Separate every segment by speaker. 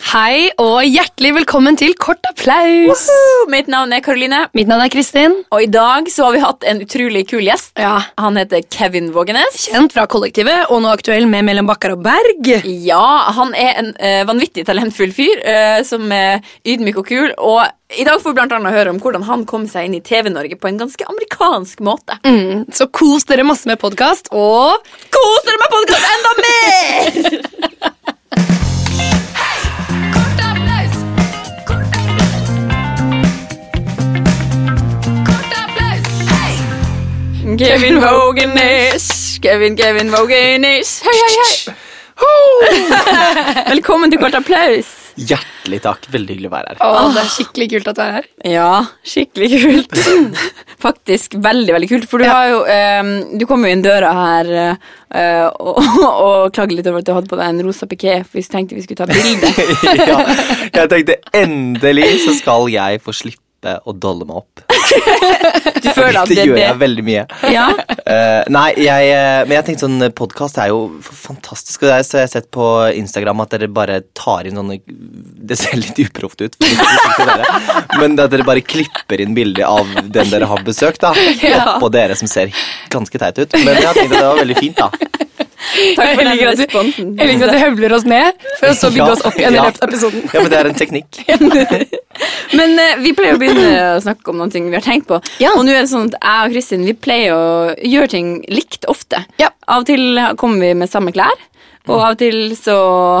Speaker 1: Hei og hjertelig velkommen til Kort applaus.
Speaker 2: Mitt navn er Karoline,
Speaker 1: Mitt navn er Kristin.
Speaker 2: og i dag så har vi hatt en utrolig kul gjest.
Speaker 1: Ja.
Speaker 2: Han heter Kevin Vågenes.
Speaker 1: Kjent fra kollektivet og nå aktuell med Mellom Bakkar og Berg.
Speaker 2: Ja, han er en eh, vanvittig talentfull fyr eh, som er ydmyk og kul. Og i dag får vi blant annet høre om hvordan han kom seg inn i TV-Norge på en ganske amerikansk måte.
Speaker 1: Mm, så kos dere masse med podkast og
Speaker 2: Kos dere med podkast enda mer! Kevin Vågenes, Kevin, Kevin Vågenes. Hei, hei, hei. Velkommen til kort applaus.
Speaker 3: Hjertelig takk. Veldig hyggelig å være her.
Speaker 1: Å, Det er skikkelig kult at du er her.
Speaker 2: Ja, skikkelig kult. Faktisk veldig, veldig kult. For du har jo ehm, Du kom jo inn døra her eh, og, og klagde litt over at du hadde på deg en rosa piké, for vi tenkte vi skulle ta bilde.
Speaker 3: ja, jeg tenkte endelig så skal jeg få slippe å dolle meg opp.
Speaker 2: Du føler at
Speaker 3: det
Speaker 2: det
Speaker 3: gjør
Speaker 2: er
Speaker 3: jeg
Speaker 2: det.
Speaker 3: veldig mye.
Speaker 2: Ja.
Speaker 3: Eh, nei, jeg, eh, men jeg tenkte sånn podkast er jo f- fantastisk. Og det er, så jeg har sett på Instagram at dere bare tar inn sånne Det ser litt uproft ut, for å si det dere, men at dere bare klipper inn bilder av den dere har besøkt. da
Speaker 2: Ja.
Speaker 3: Oppå dere som ser ganske teit ut. Men jeg tenkte det var veldig fint, da.
Speaker 2: Takk
Speaker 1: Jeg
Speaker 2: for den
Speaker 1: liker at du-
Speaker 2: responsen.
Speaker 1: Jeg liker at du høvler oss ned for å så bygge
Speaker 3: Ja,
Speaker 1: oss opp igjen i
Speaker 3: ja.
Speaker 1: løpet av episoden.
Speaker 3: Ja, men Det er en teknikk.
Speaker 2: Men eh, vi pleier å begynne å snakke om noen ting vi har tenkt på.
Speaker 1: Ja.
Speaker 2: Og nå er det sånn at jeg og Kristin vi pleier å gjøre ting likt ofte.
Speaker 1: Ja.
Speaker 2: Av og til kommer vi med samme klær. Og av og til så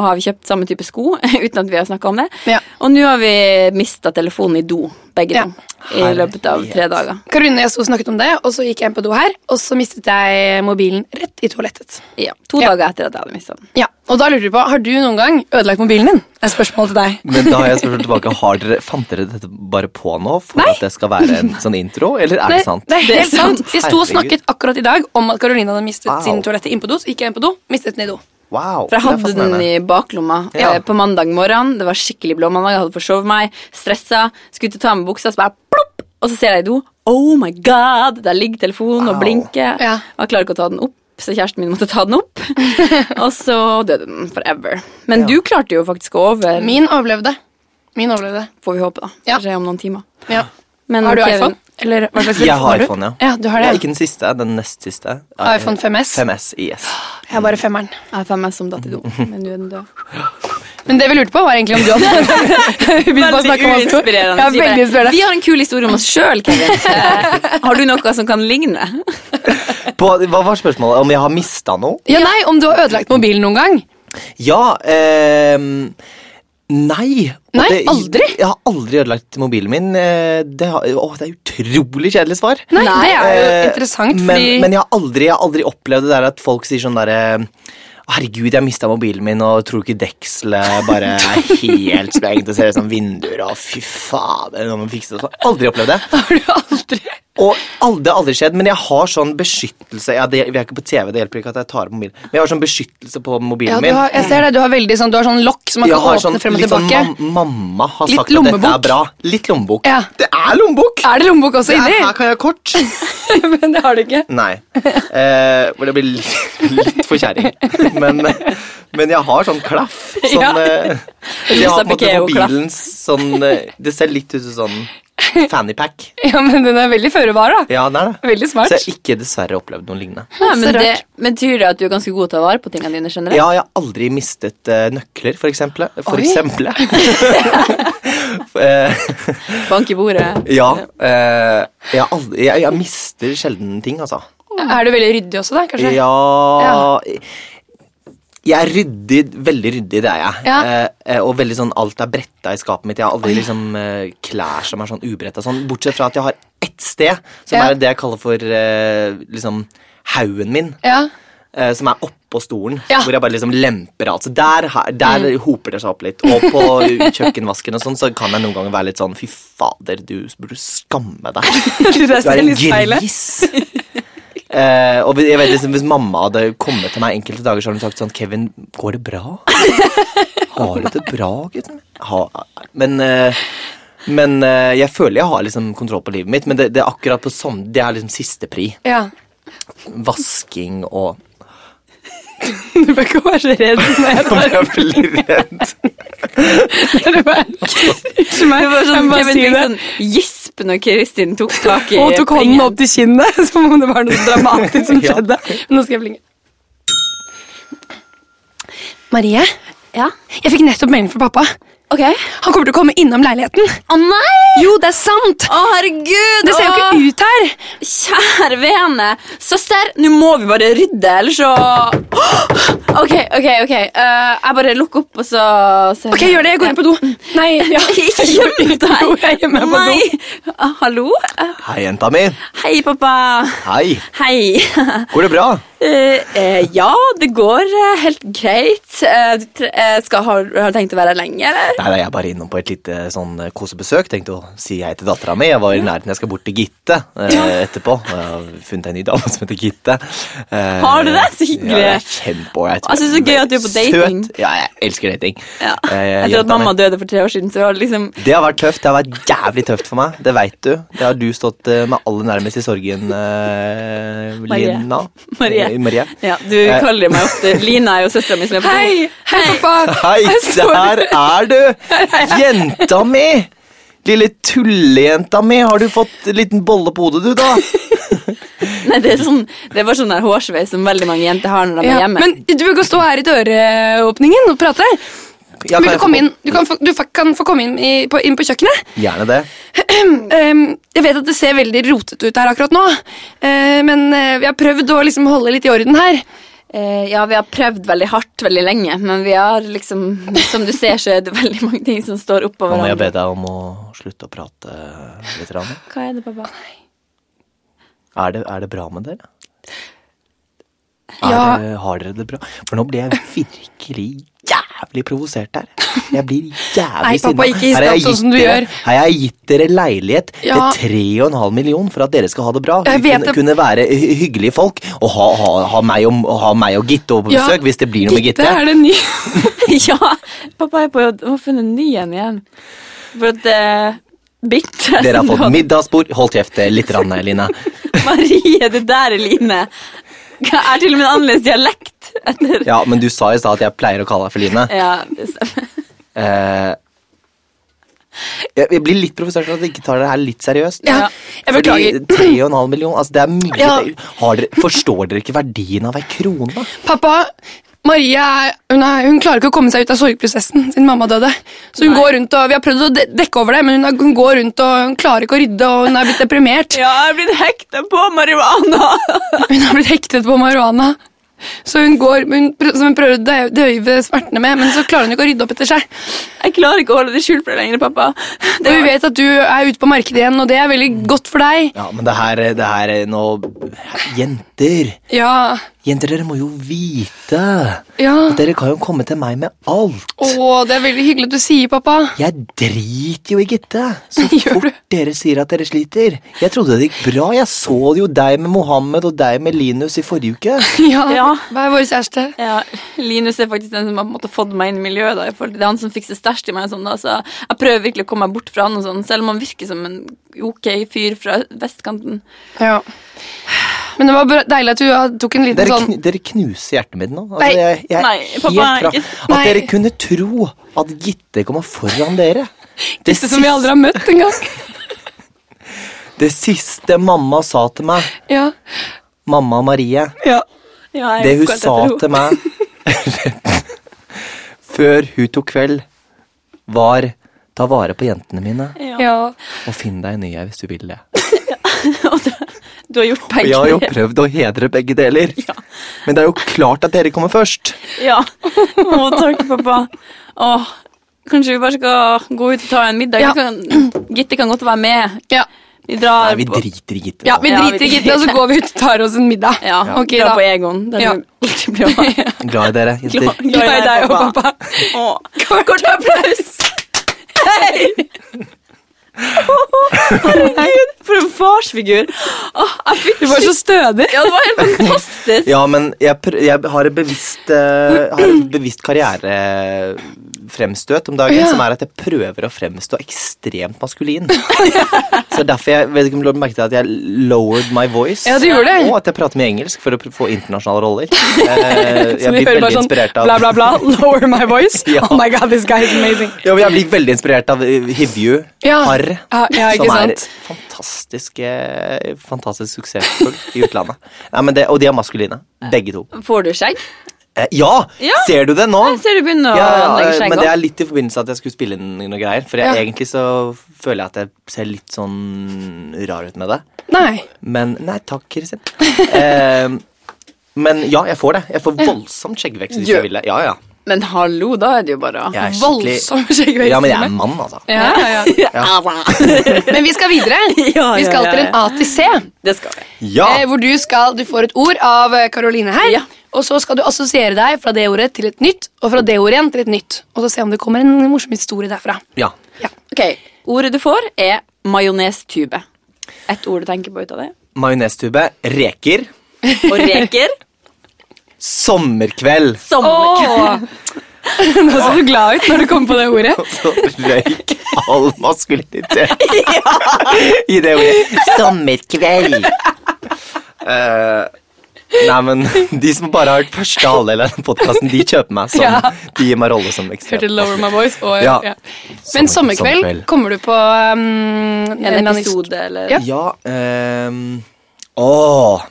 Speaker 2: har vi kjøpt samme type sko uten at vi har snakka om det.
Speaker 1: Ja.
Speaker 2: Og nå har vi mista telefonen i do, begge
Speaker 1: Ja.
Speaker 2: to. I løpet av tre
Speaker 3: Herlighet.
Speaker 2: dager.
Speaker 1: Karoline og jeg sto og snakket om det, og så gikk jeg inn på do her, og så mistet jeg mobilen rett i toalettet.
Speaker 2: Ja, To
Speaker 1: Ja.
Speaker 2: dager etter at jeg hadde mista den.
Speaker 1: Ja, Og da lurer du på, har du noen gang ødelagt mobilen din? Er spørsmålet til deg.
Speaker 3: Men da har jeg spørsmål tilbake, har dere, fant dere dette bare på nå for at det skal være en sånn intro, eller er det sant?
Speaker 1: Det er
Speaker 2: Det er
Speaker 1: helt sant.
Speaker 2: sant.
Speaker 1: Vi sto og
Speaker 3: Herregud.
Speaker 1: snakket akkurat i dag om at Karoline hadde mistet
Speaker 3: Wow.
Speaker 1: sin toalett inn på do. Så gikk jeg inn på do, mistet den i do.
Speaker 3: Wow,
Speaker 2: For jeg
Speaker 3: det er
Speaker 2: hadde den
Speaker 3: fascinerende.
Speaker 2: i baklomma
Speaker 3: Ja.
Speaker 2: eh, på mandag morgen. Det var skikkelig blå mandag. Jeg hadde forsovet meg, stressa, skulle til å ta med buksa, så bare plopp! Og så ser jeg i do. Oh my god! Der ligger telefonen og
Speaker 3: Wow.
Speaker 2: blinker.
Speaker 1: Ja.
Speaker 2: Og jeg klarer ikke å ta den opp, så kjæresten min måtte ta den opp. og så døde den forever. Men
Speaker 3: Ja.
Speaker 2: du klarte jo faktisk å over,
Speaker 1: Min overlevde. Min overlevde.
Speaker 2: får vi håpe, da.
Speaker 1: Ja.
Speaker 2: Kanskje om noen timer.
Speaker 1: Ja.
Speaker 2: Men
Speaker 1: har du
Speaker 2: Kevin-
Speaker 1: iPhone? Eller hva slags
Speaker 3: Jeg
Speaker 1: telefon
Speaker 3: har
Speaker 1: du?
Speaker 3: iPhone, ja.
Speaker 1: Ja, du har det.
Speaker 3: Ikke den siste, den nest siste.
Speaker 1: iPhone 5S.
Speaker 3: 5S, yes.
Speaker 1: Jeg har bare femmeren.
Speaker 2: Jeg har fem S som datt i do, men nå er den død.
Speaker 1: Men det vi lurte på, var egentlig om du hadde Vi begynte bare å snakke om alt. Ja,
Speaker 2: Vi bare,
Speaker 1: veldig inspirerende.
Speaker 2: Vi har en kul historie om oss sjøl, Kevin. Eh, har du noe som kan ligne?
Speaker 3: På, hva var spørsmålet? Om jeg har mista noe?
Speaker 1: Ja, nei, Om du har ødelagt mobilen noen gang?
Speaker 3: Ja ehm, Nei. Og
Speaker 1: Nei, aldri?
Speaker 3: Jeg har aldri ødelagt mobilen min. eh, Det, har, å, det er utrolig kjedelig svar.
Speaker 1: Nei, Det er jo
Speaker 3: Eh,
Speaker 1: interessant,
Speaker 3: men,
Speaker 1: fordi
Speaker 3: men jeg, har aldri, jeg har aldri opplevd det der at folk sier sånn derre Herregud, jeg mista mobilen min, og tror ikke dekselet bare er helt sprengt. Og ser ut som vinduer, og fy fader, nå må vi fikse det. Så Aldri opplevd det.
Speaker 1: har du aldri
Speaker 3: Og aldri, det har aldri skjedd, men jeg har sånn beskyttelse ja, det, Vi er ikke på TV, det hjelper ikke at jeg tar opp mobilen. Men jeg har sånn beskyttelse på mobilen
Speaker 1: ja, du
Speaker 3: min.
Speaker 1: har, Jeg ser det, du har veldig sånn, du har sånn lokk som man
Speaker 3: Jeg
Speaker 1: kan
Speaker 3: har
Speaker 1: åpne
Speaker 3: sånn,
Speaker 1: frem og
Speaker 3: litt sånn
Speaker 1: tilbake.
Speaker 3: mam mamma har
Speaker 1: Litt
Speaker 3: sagt at dette
Speaker 1: lommebok.
Speaker 3: er bra. Litt lommebok.
Speaker 1: Ja.
Speaker 3: Det er lommebok!
Speaker 1: Er det lommebok også
Speaker 3: Det er,
Speaker 1: inni?
Speaker 3: her kan jeg ha kort.
Speaker 1: Men det har du ikke.
Speaker 3: Nei. Eh, hvor det blir litt, litt for kjerring. Men, men jeg har sånn klaff. Sånn,
Speaker 1: Ja.
Speaker 3: eh, så jeg har på en måte
Speaker 2: Rosa Piquet-klaff.
Speaker 3: mobilens sånn eh, Det ser litt ut som sånn fannypack.
Speaker 1: Ja, men den er veldig føre var, da.
Speaker 3: Ja, det er det.
Speaker 1: Veldig smart.
Speaker 3: Så jeg har ikke dessverre opplevd noe lignende.
Speaker 2: Ja, men
Speaker 1: Så
Speaker 2: det
Speaker 1: rart.
Speaker 2: betyr det at du er ganske god til å ta vare på tingene dine generelt?
Speaker 3: Ja, jeg har aldri mistet eh, nøkler, for eksempel. For
Speaker 1: Oi.
Speaker 3: eksempel. Eh,
Speaker 2: Bank i bordet.
Speaker 3: ja. eh, jeg, har aldri, jeg, jeg mister sjelden ting, altså.
Speaker 1: Er du veldig ryddig også, da? kanskje?
Speaker 3: Ja Jeg er ryddig, veldig ryddig, det er jeg.
Speaker 1: Ja.
Speaker 3: Eh, eh, og veldig sånn alt er bretta i skapet mitt. Jeg har aldri liksom eh, klær som er sånn ubretta sånn. Bortsett fra at jeg har ett sted som
Speaker 1: Ja.
Speaker 3: er det jeg kaller for eh, liksom haugen min.
Speaker 1: Ja.
Speaker 3: eh, som er oppå stolen,
Speaker 1: Ja. Mm.
Speaker 3: hvor jeg bare liksom lemper alt. Så der, her- der hoper det seg opp litt. Og på kjøkkenvasken og sånn, så kan jeg noen ganger være litt sånn Fy fader, du burde skamme deg.
Speaker 1: Du
Speaker 3: Du er en gris. Eh, og jeg vet liksom, Hvis mamma hadde kommet til meg enkelte dager, så hadde hun sagt sånn Kevin, går det bra? Har du det bra, gutten? Ha, men eh, men eh, jeg føler jeg har liksom kontroll på livet mitt, men det, det er akkurat på sånn, det er liksom siste pri.
Speaker 1: Ja.
Speaker 3: Vasking og
Speaker 1: Du bør ikke være så redd.
Speaker 3: Jeg blir redd.
Speaker 2: meg.
Speaker 1: var sånn,
Speaker 2: Jeg må bare
Speaker 1: Kevin
Speaker 2: si
Speaker 1: fikk
Speaker 2: det.
Speaker 1: sånn
Speaker 2: Gisp når Kristin tok tak i
Speaker 1: Og tok hånden opp til kinnet, som om det var noe dramatisk som
Speaker 3: Ja.
Speaker 1: skjedde. Men nå skal jeg blinge. Marie,
Speaker 2: Ja,
Speaker 1: jeg fikk nettopp melding fra pappa.
Speaker 2: ok.
Speaker 1: Han kommer til å komme innom leiligheten.
Speaker 2: Å nei!
Speaker 1: Jo, det er sant!
Speaker 2: Å herregud!
Speaker 1: Det ser jo
Speaker 2: Å,
Speaker 1: ikke ut her.
Speaker 2: Kjære vene! Søster, nå må vi bare rydde, ellers så Ok, ok, ok. Eh, jeg bare lukker opp, og så ser
Speaker 1: Ok, gjør det. Jeg går inn på do. Nei, ja.
Speaker 2: Ikke gjem deg!
Speaker 1: Jo, jeg gjemmer meg på do.
Speaker 2: Nei. Ah, Hallo? Eh,
Speaker 3: Hei, jenta mi.
Speaker 2: Hei, pappa.
Speaker 3: Hei.
Speaker 2: Hei.
Speaker 3: Går det bra?
Speaker 2: Eh, eh, ja, det går eh, helt greit. Eh, du tre- eh, skal, har, har du tenkt å være her lenge, eller?
Speaker 3: Nei, nei, jeg er bare innom på et lite sånn eh, kosebesøk. Tenkte å si hei til dattera mi. Jeg var i nærheten jeg skal bort til Gitte eh, etterpå. Jeg har funnet en ny dame som heter Gitte. Eh,
Speaker 2: Har du det? Så hyggelig.
Speaker 3: Ja, jeg er kjempeålreit.
Speaker 2: Jeg synes det er gøy at du er på dating.
Speaker 3: Søt. Ja, jeg elsker dating.
Speaker 2: Ja.
Speaker 3: Eh,
Speaker 2: Etter
Speaker 3: jenta
Speaker 2: at mamma
Speaker 3: mi.
Speaker 2: døde for tre år siden, så var det liksom
Speaker 3: Det har vært tøft. Det har vært jævlig tøft for meg. Det veit du. Det har du stått eh, meg aller nærmest i sorgen, eh,
Speaker 2: Marie.
Speaker 3: Lina.
Speaker 2: Marie.
Speaker 3: Eh, Marie.
Speaker 2: Ja, du
Speaker 3: Eh.
Speaker 2: kaller meg ofte Lina er jo søstera mi.
Speaker 1: Hei, hei, pappa.
Speaker 3: Hei,
Speaker 1: Jeg så
Speaker 3: der er du! Jenta mi! Lille tullejenta mi, har du fått en liten bolle på hodet, du, da?
Speaker 2: Nei, det er sånn Det er bare sånn der hårsveis som veldig mange jenter har når de er
Speaker 1: Ja,
Speaker 2: hjemme.
Speaker 1: men du bør ikke stå her i døråpningen og prate.
Speaker 3: Ja, kan
Speaker 1: Men
Speaker 3: jeg
Speaker 1: du,
Speaker 3: få-
Speaker 1: komme inn, du, kan, få, du fa- kan få komme inn, i, på, inn på kjøkkenet.
Speaker 3: Gjerne det. Mm.
Speaker 1: Ehm, jeg vet at det ser veldig rotete ut her akkurat nå, eh, men eh, vi har prøvd å liksom holde litt i orden her.
Speaker 2: Eh, ja, vi har prøvd veldig hardt veldig lenge, men vi har liksom Som du ser, så er det veldig mange ting som står oppå
Speaker 3: Nå må jeg be
Speaker 2: hverandre.
Speaker 3: deg om å slutte å prate litt. Rann.
Speaker 2: Hva er det, pappa?
Speaker 3: Er det, er det bra med dere?
Speaker 1: Ja.
Speaker 3: Er det, har dere det bra? For nå blir jeg virkelig jævlig provosert her. Jeg blir
Speaker 1: Nei,
Speaker 3: jævlig
Speaker 1: pappa, ikke hiss
Speaker 3: Her har
Speaker 1: deg
Speaker 3: jeg
Speaker 1: opp sånn
Speaker 3: gitt
Speaker 1: som du
Speaker 3: dere-
Speaker 1: gjør.
Speaker 3: Her har jeg gitt dere leilighet
Speaker 1: Ja.
Speaker 3: til 3,5 million for at dere skal ha det bra.
Speaker 1: Jeg vet
Speaker 3: kunne,
Speaker 1: det.
Speaker 3: kunne være hy- hyggelige folk og ha, ha, ha, meg, og, ha meg og Gitte over på
Speaker 1: Ja,
Speaker 3: besøk hvis det blir noe med Gitte.
Speaker 1: er det ny.
Speaker 2: ja, pappa er på jobb. Hun har funnet en ny en igjen. For at eh, altså, Bitte
Speaker 3: Dere har
Speaker 2: som
Speaker 3: fått
Speaker 2: du
Speaker 3: middagsbord. Hold kjeft eh, litt, rann, Line.
Speaker 2: hadde- Marie, det der er Line. Jeg har til og med en annerledes dialekt etter
Speaker 3: Ja, men du sa i stad at jeg pleier å kalle deg for Line.
Speaker 2: Ja, det stemmer.
Speaker 3: Eh, jeg, jeg blir litt provosert av at dere ikke tar det her litt seriøst.
Speaker 1: Ja, jeg beklager.
Speaker 3: Fordi 3,5 millioner, altså det er mye
Speaker 1: Ja.
Speaker 3: har dere, Forstår dere ikke verdien av ei krone?
Speaker 1: Pappa, Maria er- hun, er, hun klarer ikke å komme seg ut av sorgprosessen siden mamma døde. Så hun går rundt og, Vi har prøvd å de dekke over det, men hun, er, hun går rundt og hun klarer ikke å rydde, og hun er blitt deprimert.
Speaker 2: Ja, jeg er blitt hekta på marihuana!
Speaker 1: Hun har blitt hektet på marihuana. Så hun går, hun, prø- som hun prøver å dø- døyve smertene med, men så klarer hun ikke å rydde opp etter seg.
Speaker 2: Jeg klarer ikke å holde det skjult for deg lenger, pappa.
Speaker 1: Og vi vet at du er ute på markedet igjen, og det er veldig godt for deg.
Speaker 3: Ja, men det her, det her er nå Jenter!
Speaker 1: Ja,
Speaker 3: Jenter, dere må jo vite!
Speaker 1: ja.
Speaker 3: At dere kan jo komme til meg med alt!
Speaker 1: Å, det er veldig hyggelig at du sier, pappa.
Speaker 3: Jeg driter jo i Gitte, så
Speaker 1: Gjør
Speaker 3: fort
Speaker 1: du?
Speaker 3: dere sier at dere sliter. Jeg trodde det gikk bra. Jeg så jo deg med Mohammed og deg med Linus i forrige uke.
Speaker 1: Ja,
Speaker 2: Ja.
Speaker 1: Hva er vår kjæreste?
Speaker 2: Ja, Linus er faktisk den som har på en måte fått meg inn i miljøet. da, i forhold til Det er han som fikser stæsj til meg. og Sånn, da, så jeg prøver virkelig å komme meg bort fra han, og sånn, selv om han virker som en ok fyr fra vestkanten.
Speaker 1: Ja. Men det var bra- deilig at du ja, tok en liten
Speaker 3: Dere,
Speaker 1: sånn
Speaker 3: kn dere knuser hjertet mitt nå. Altså,
Speaker 1: Nei,
Speaker 3: jeg, jeg er
Speaker 2: nei,
Speaker 3: helt
Speaker 2: pappa,
Speaker 3: fra-
Speaker 2: ikke-
Speaker 1: nei.
Speaker 3: At dere kunne tro at Gitte kommer foran dere. Det,
Speaker 1: Dette som vi aldri har møtt engang.
Speaker 3: siste, det siste mamma sa til meg,
Speaker 1: Ja.
Speaker 3: mamma Marie,
Speaker 1: ja.
Speaker 2: Ja, jeg
Speaker 3: det
Speaker 2: går
Speaker 3: hun
Speaker 2: etter
Speaker 3: sa
Speaker 2: ro.
Speaker 3: til meg før hun tok kveld, var ta vare på jentene mine
Speaker 2: Ja.
Speaker 1: ja.
Speaker 3: og finn deg en ny ei hvis du vil det.
Speaker 2: Og da- du har gjort
Speaker 3: Og
Speaker 2: begge
Speaker 3: jeg har jo
Speaker 2: deler.
Speaker 3: prøvd å hedre begge deler,
Speaker 2: Ja.
Speaker 3: men det er jo klart at dere kommer først.
Speaker 2: Ja. Å, takk, pappa. Åh, kanskje vi bare skal gå ut og ta en middag?
Speaker 1: Ja.
Speaker 2: Vi Kan, Gitte kan godt være med.
Speaker 1: ja.
Speaker 2: Vi drar
Speaker 3: Nei, vi
Speaker 2: på-
Speaker 3: driter i Gitte.
Speaker 1: Ja,
Speaker 3: nå.
Speaker 1: vi
Speaker 2: Ja, vi
Speaker 1: driter i Gitte, og så går vi ut og tar oss en middag.
Speaker 2: Ja,
Speaker 1: Ok,
Speaker 2: drar
Speaker 1: da.
Speaker 2: på Egon. Der
Speaker 1: Ja.
Speaker 2: vi alltid blir av.
Speaker 3: Glad i dere, jenter.
Speaker 2: Glad-
Speaker 1: Glad i deg og pappa.
Speaker 2: Åh, Kort, kort applaus! Hei! Å, Herregud, for en farsfigur. Åh, jeg fikk du var så stødig. Ja, det var helt fantastisk.
Speaker 3: Ja, men jeg, pr jeg har et bevisst, eh, har et bevisst karrierefremstøt om dagen,
Speaker 1: Ja.
Speaker 3: som er at jeg prøver å fremstå ekstremt maskulin. Så derfor jeg, vet ikke om du merket at jeg lowered my voice.
Speaker 1: Ja, du gjorde det.
Speaker 3: Og at jeg prater med engelsk for å pr- få internasjonale roller. Eh, jeg
Speaker 1: Som vi
Speaker 3: blir
Speaker 1: hører
Speaker 3: veldig
Speaker 1: bare sånn,
Speaker 3: inspirert av
Speaker 1: bla, bla, bla, lower my voice.
Speaker 3: Ja.
Speaker 1: Oh my god, this guy is amazing.
Speaker 3: Ja, men jeg blir veldig inspirert av eh, Hivju
Speaker 1: Ja.
Speaker 3: Harr.
Speaker 1: Ja, ja, ikke
Speaker 3: som er
Speaker 1: sant?
Speaker 3: fantastisk, eh, fantastisk suksessfull i utlandet. Nei, men det, og de er maskuline, begge to.
Speaker 2: Får du skjegg?
Speaker 3: Eh, ja!
Speaker 2: Ja.
Speaker 3: Ser du det nå?
Speaker 2: Jeg ser du begynner å
Speaker 3: Ja,
Speaker 2: anlegge
Speaker 3: eh,
Speaker 2: skjegg
Speaker 3: men det
Speaker 2: også.
Speaker 3: er litt i forbindelse med at jeg skulle spille inn noen greier. For jeg,
Speaker 1: Ja.
Speaker 3: egentlig så føler jeg at jeg ser litt sånn rar ut med det.
Speaker 1: Nei.
Speaker 3: Men nei takk, Kristin. eh, men ja, jeg får det. Jeg får voldsomt skjeggvekst hvis
Speaker 2: Gjør-
Speaker 3: jeg vil det. Ja, ja.
Speaker 2: Men hallo, da er det jo bare å
Speaker 3: Jeg er skikkelig
Speaker 1: Voldsom skjeggvekst.
Speaker 3: Ja, men jeg er mann, altså.
Speaker 1: ja, ja, ja. Men vi skal videre.
Speaker 2: ja,
Speaker 1: vi skal
Speaker 2: ja,
Speaker 1: til
Speaker 2: ja.
Speaker 1: en A til C.
Speaker 2: Det skal vi.
Speaker 3: Ja!
Speaker 1: Eh, hvor du, skal, du får et ord av eh, Caroline her.
Speaker 2: Ja.
Speaker 1: Og så skal du assosiere deg fra det ordet til et nytt, og fra det ordet igjen til et nytt. Og så se om det kommer en morsom historie derfra.
Speaker 3: ja.
Speaker 1: Ja.
Speaker 2: Ok, Ordet du får, er majonestube. Ett ord du tenker på ut av det.
Speaker 3: Majonestube, reker,
Speaker 2: Og reker.
Speaker 3: sommerkveld.
Speaker 2: Sommerkveld.
Speaker 1: Nå så du glad ut når du kom på det ordet.
Speaker 3: Så røyk all maskulinitet i det ordet. Sommerkveld. Eh, nei, men de som bare har hørt første halvdel av den podkasten, de kjøper meg som
Speaker 1: Ja.
Speaker 3: De gir meg rolle som
Speaker 1: Hørte
Speaker 3: ekstrem.
Speaker 1: lower my voice og,
Speaker 3: Ja.
Speaker 1: ja. Men sommerkveld, kommer du på um,
Speaker 2: Er det en
Speaker 1: eller annen
Speaker 2: episode, eller?
Speaker 1: Ja.
Speaker 3: Ja ehm, Åh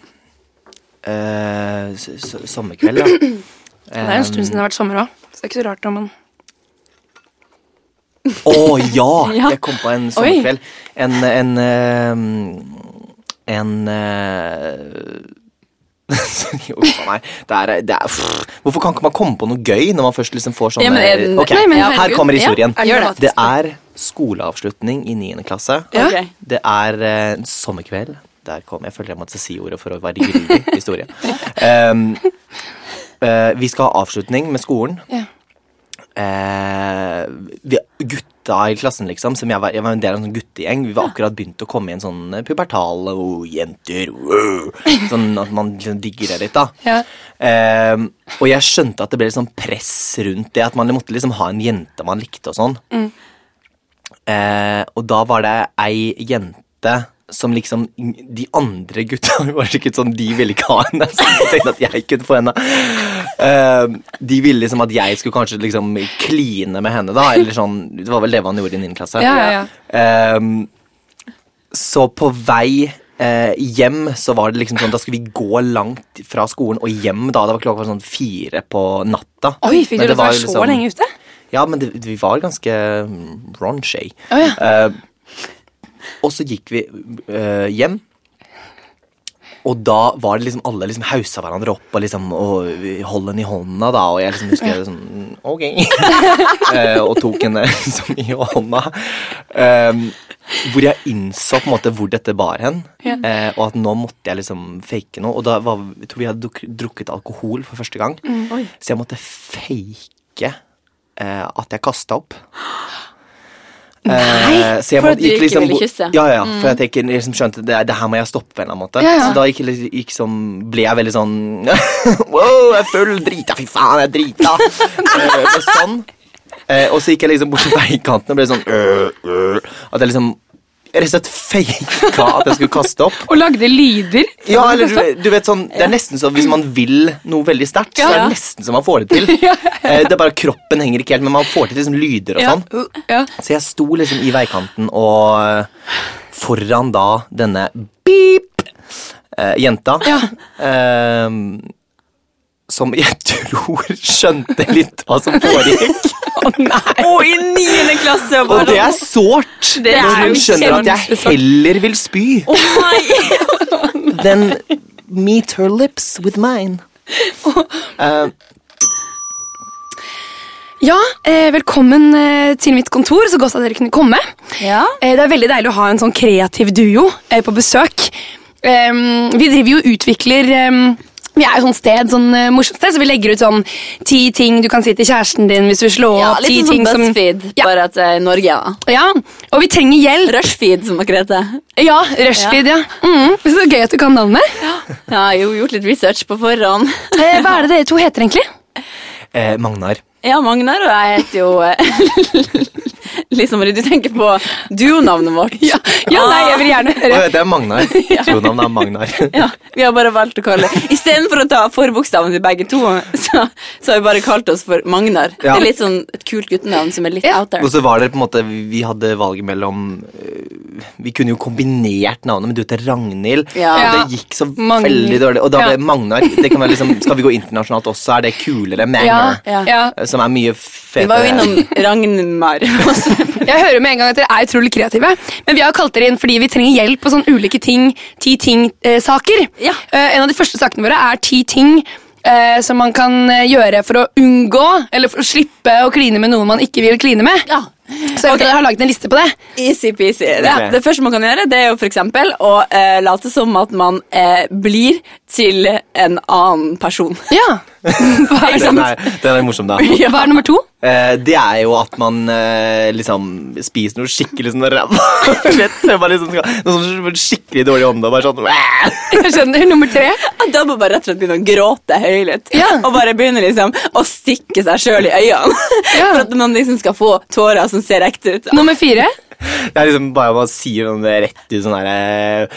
Speaker 3: Eh, s- s- Sommerkveld, ja.
Speaker 1: his- Det er en stund siden det har vært sommer òg. Så det er ikke så rart om man
Speaker 3: Å ja!
Speaker 2: Ja.
Speaker 3: Jeg kom på en sommerkveld. En En, eh, en eh, jo, faen, nei, det er, det er, pff. Hvorfor kan ikke man komme på noe gøy når man først liksom får sånne
Speaker 2: Ja, men er den-
Speaker 3: Ok,
Speaker 2: Nei, men
Speaker 3: Her
Speaker 1: herregud,
Speaker 3: kommer
Speaker 2: ja,
Speaker 3: historien.
Speaker 1: er det
Speaker 2: Gjør
Speaker 1: dramatisk?
Speaker 3: det er skoleavslutning i 9. klasse.
Speaker 1: Ja.
Speaker 2: Ok.
Speaker 3: Det er eh, en sommerkveld. Der kom jeg. føler jeg måtte si ordet for å være grundig i historien. Ehm, eh, vi skal ha avslutning med skolen
Speaker 1: ja.
Speaker 3: eh, vi, gutta i klassen, liksom. Som jeg, var, jeg var en del av en sånn guttegjeng. Vi var akkurat begynt å komme i en sånn eh, pubertal oh, jenter wow. Sånn at man liksom digger det litt, da.
Speaker 1: Ja.
Speaker 3: Eh, og jeg skjønte at det ble litt sånn press rundt det. At man måtte liksom ha en jente man likte og sånn.
Speaker 1: Mm.
Speaker 3: Eh, og da var det ei jente som liksom De andre gutta var sikkert sånn De ville ikke ha henne. Så de tenkte at jeg kunne få henne. Eh, de ville liksom at jeg skulle kanskje liksom kline med henne, da. Eller sånn Det var vel det man gjorde i 9. klasse.
Speaker 1: Ja, ja, ja.
Speaker 3: Ehm, så på vei eh, hjem, så var det liksom sånn Da skulle vi gå langt fra skolen og hjem, da. Det var klokka sånn fire på natta.
Speaker 1: Oi, fikk
Speaker 3: Men
Speaker 1: dere
Speaker 3: var
Speaker 1: være
Speaker 3: jo liksom-
Speaker 1: så lenge ute?
Speaker 3: Ja, men det, vi var ganske mm, raunchy.
Speaker 1: Å, ja.
Speaker 3: Eh, og så gikk vi eh, hjem. Og da var det liksom alle liksom hausa hverandre opp og liksom og vi holdt henne i hånda, da. Og jeg liksom husker jeg sånn mm, Ok. Eh, og tok henne liksom i hånda. Ehm, hvor jeg innså på en måte hvor dette bar hen. eh, og at nå måtte jeg liksom fake noe. Og da var, jeg tror vi hadde duk- drukket alkohol for første gang.
Speaker 2: Mm.
Speaker 3: Så jeg måtte fake eh, at jeg kasta opp. Nei, så jeg
Speaker 2: for at
Speaker 3: måtte-
Speaker 2: du
Speaker 3: gikk
Speaker 2: ikke ville
Speaker 3: bort-
Speaker 2: kysse.
Speaker 3: Ja, ja, for jeg tenker, liksom skjønte det, det her må jeg stoppe på en eller annen måte.
Speaker 1: Mm. Ja, ja.
Speaker 3: Så da gikk, jeg- gikk som, ble jeg veldig sånn Wow, jeg er full, drita, fy faen, jeg er drita. Eh, men sånn. Eh, og så gikk jeg liksom bort til veikanten og ble sånn øh, øh, At jeg liksom rett og slett faka at jeg skulle kaste opp.
Speaker 1: Og lagde lyder.
Speaker 3: Ja, eller du, du vet sånn, Det er nesten som hvis man vil noe veldig sterkt, så
Speaker 1: Ja.
Speaker 3: er det nesten som man får det til. Eh, det er bare Kroppen henger ikke helt, men man får til liksom lyder og
Speaker 1: Ja.
Speaker 3: sånn.
Speaker 1: Ja.
Speaker 3: Så jeg sto liksom i veikanten og eh, foran da denne beep eh, jenta.
Speaker 1: Ja.
Speaker 3: Eh, som jeg tror skjønte litt hva som foregikk.
Speaker 2: Og i niende klasse!
Speaker 3: Og det er sårt
Speaker 2: Det er
Speaker 3: når hun
Speaker 2: jo
Speaker 3: skjønner at jeg
Speaker 2: kjempesårt.
Speaker 3: heller vil spy than meet her lips with mine. Eh,
Speaker 1: Ja, eh, velkommen eh, til mitt kontor. Så godt at dere kunne komme.
Speaker 2: Ja.
Speaker 1: Eh, det er veldig deilig å ha en sånn kreativ duo eh, på besøk. Em, vi driver jo og utvikler em, Vi er jo sånn sted, sånn eh, morsomt sted, så vi legger ut sånn ti ting du kan si til kjæresten din hvis du slår
Speaker 2: Ja,
Speaker 1: opp. ti
Speaker 2: litt sånn
Speaker 1: ting
Speaker 2: som
Speaker 1: som-
Speaker 2: BuzzFeed,
Speaker 1: Ja.
Speaker 2: bare at eh, i Norge, da.
Speaker 1: Ja, og vi trenger hjelp.
Speaker 2: Rushfeed, som dere heter.
Speaker 1: Ja, Rushfeed, ja. Mhm, Så gøy at du kan navnet.
Speaker 2: Ja, jeg har jo gjort litt research på forhånd.
Speaker 1: Eh, Hva er det dere to heter egentlig?
Speaker 3: Eh, Magnar.
Speaker 2: Ja, Magnar og jeg heter jo eh, Lise Marie, du tenker på duonavnet vårt.
Speaker 1: Ja, ja nei, jeg vil gjerne
Speaker 3: Å,
Speaker 1: høre.
Speaker 3: det er Magnar. Tronavnet er Magnar.
Speaker 2: Ja, vi har bare valgt å kalle Istedenfor å ta forbokstaven til begge to, så, så har vi bare kalt oss for Magnar. Det
Speaker 3: Ja.
Speaker 2: er litt sånn et kult guttenavn som er litt
Speaker 1: Ja.
Speaker 2: out there.
Speaker 3: Og så var det på en måte Vi hadde valget mellom øh, Vi kunne jo kombinert navnet, men du heter Ragnhild.
Speaker 2: Ja.
Speaker 3: Og det gikk så
Speaker 1: Magnhild.
Speaker 3: veldig dårlig. Og da ble
Speaker 1: Ja.
Speaker 3: Magnar det kan være liksom, Skal vi gå internasjonalt også? Er det kulere?
Speaker 1: Ja,
Speaker 3: Magnar.
Speaker 2: Ja.
Speaker 1: ja.
Speaker 3: Som er mye
Speaker 2: Vi
Speaker 3: fetere.
Speaker 2: var jo innom Ragnmar. også.
Speaker 1: Jeg hører med en gang at dere er utrolig kreative, men vi har jo kalt dere inn fordi vi trenger hjelp på sånne ulike ting, ti ting-saker. Eh,
Speaker 2: Ja.
Speaker 1: en av de første sakene våre er ti ting eh, som man kan eh, gjøre for å unngå, eller for å slippe å kline med noen man ikke vil kline med.
Speaker 2: Ja.
Speaker 1: Så jeg vet at dere har laget en liste på det.
Speaker 2: Easy-peasy.
Speaker 3: Ok.
Speaker 2: Det, det første man kan gjøre, det er jo for eksempel å eh, late som at man eh, blir til en annen person.
Speaker 1: Ja. Hva er,
Speaker 3: den, er, den er morsom, da.
Speaker 1: ja. Hva er nummer to?
Speaker 3: Eh, det er jo at man eh, liksom spiser noe skikkelig sånn ræva. Rett før man liksom skal- Noe sånn skikkelig dårlig ånde og bare sånn "Æ!"
Speaker 1: Jeg skjønner. Nummer tre.
Speaker 2: At Da må man bare rett og slett begynne å gråte høylytt.
Speaker 1: Ja.
Speaker 2: Og bare begynne liksom å stikke seg sjøl i øynene.
Speaker 1: Ja.
Speaker 2: For at man liksom skal få tårer som ser ekte ut.
Speaker 1: Nummer fire.
Speaker 3: Det er liksom bare man sier sånn det rett ut sånn derre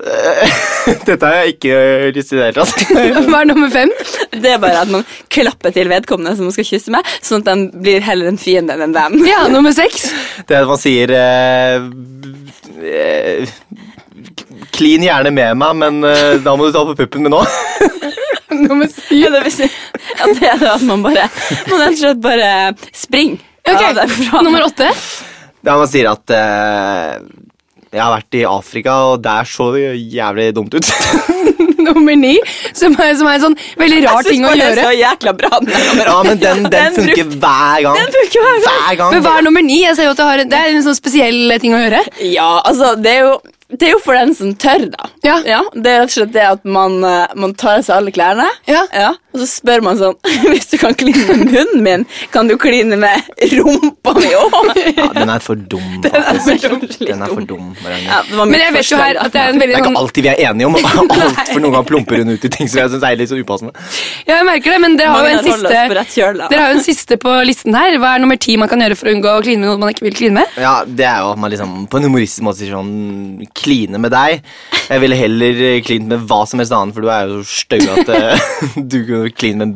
Speaker 3: Dette har jeg ikke lyst til i det hele tatt.
Speaker 1: Hva er nummer fem?
Speaker 2: Det er bare at man klapper til vedkommende som man skal kysse med, sånn at de blir heller en fiende enn en venn.
Speaker 1: Ja, nummer seks.
Speaker 3: Det er at man sier eh, eh, Klin gjerne med meg, men eh, da må du ta på puppen min nå.
Speaker 1: Nummer syv.
Speaker 2: Ja, det, vil si, ja, det er det at man bare Man rett og slett bare springer.
Speaker 1: Ok,
Speaker 2: av derfra.
Speaker 1: Nummer åtte.
Speaker 3: Der man sier at eh, Jeg har vært i Afrika, og der så det jævlig dumt ut.
Speaker 1: Nummer ni, som er, som er en sånn veldig rar
Speaker 2: Jeg synes
Speaker 1: ting å
Speaker 2: bare Det
Speaker 1: gjøre.
Speaker 2: er så jækla bra. den der nummer
Speaker 3: Ja,
Speaker 2: åtte.
Speaker 3: men den, den funker
Speaker 2: brukte-
Speaker 3: hver gang.
Speaker 2: Den funker hver gang.
Speaker 3: Hver gang.
Speaker 1: Men hva er nummer ni? Jeg ser jo at det, har, det er en sånn spesiell ting å gjøre.
Speaker 2: Ja, altså, det er jo det er jo for den som tør, da.
Speaker 1: Ja.
Speaker 2: det er rett og slett det at man, eh, man tar av seg alle klærne,
Speaker 1: Ja.
Speaker 2: og så spør man sånn Hvis du kan kline med munnen min, kan du kline med rumpa mi òg?
Speaker 3: Ja, den er for dum.
Speaker 2: for dum.
Speaker 3: faktisk. Den er for dum. Marianne.
Speaker 2: Ja, det var mitt
Speaker 1: Men jeg vet jo
Speaker 2: forslag,
Speaker 1: her
Speaker 2: da.
Speaker 1: at det er en
Speaker 3: Det
Speaker 1: veldig
Speaker 3: er ikke
Speaker 1: sånn,
Speaker 3: alltid vi er enige om alt, for noen ganger plumper hun ut i ting som jeg synes er litt så upassende.
Speaker 1: Ja, jeg merker det, men dere har jo en
Speaker 2: Magnar holder oss på
Speaker 1: siste
Speaker 2: rett kjøl, da.
Speaker 1: Dere har jo en siste på listen her. Hva er nummer ti man kan gjøre for å unngå å kline med noen man ikke vil kline med?
Speaker 3: Ja, Det er jo at man liksom på en humoristisk måte sier sånn Kline med deg. Jeg ville heller eh, klint med hva som helst annet, for du er jo så støy at eh, du kunne kline med en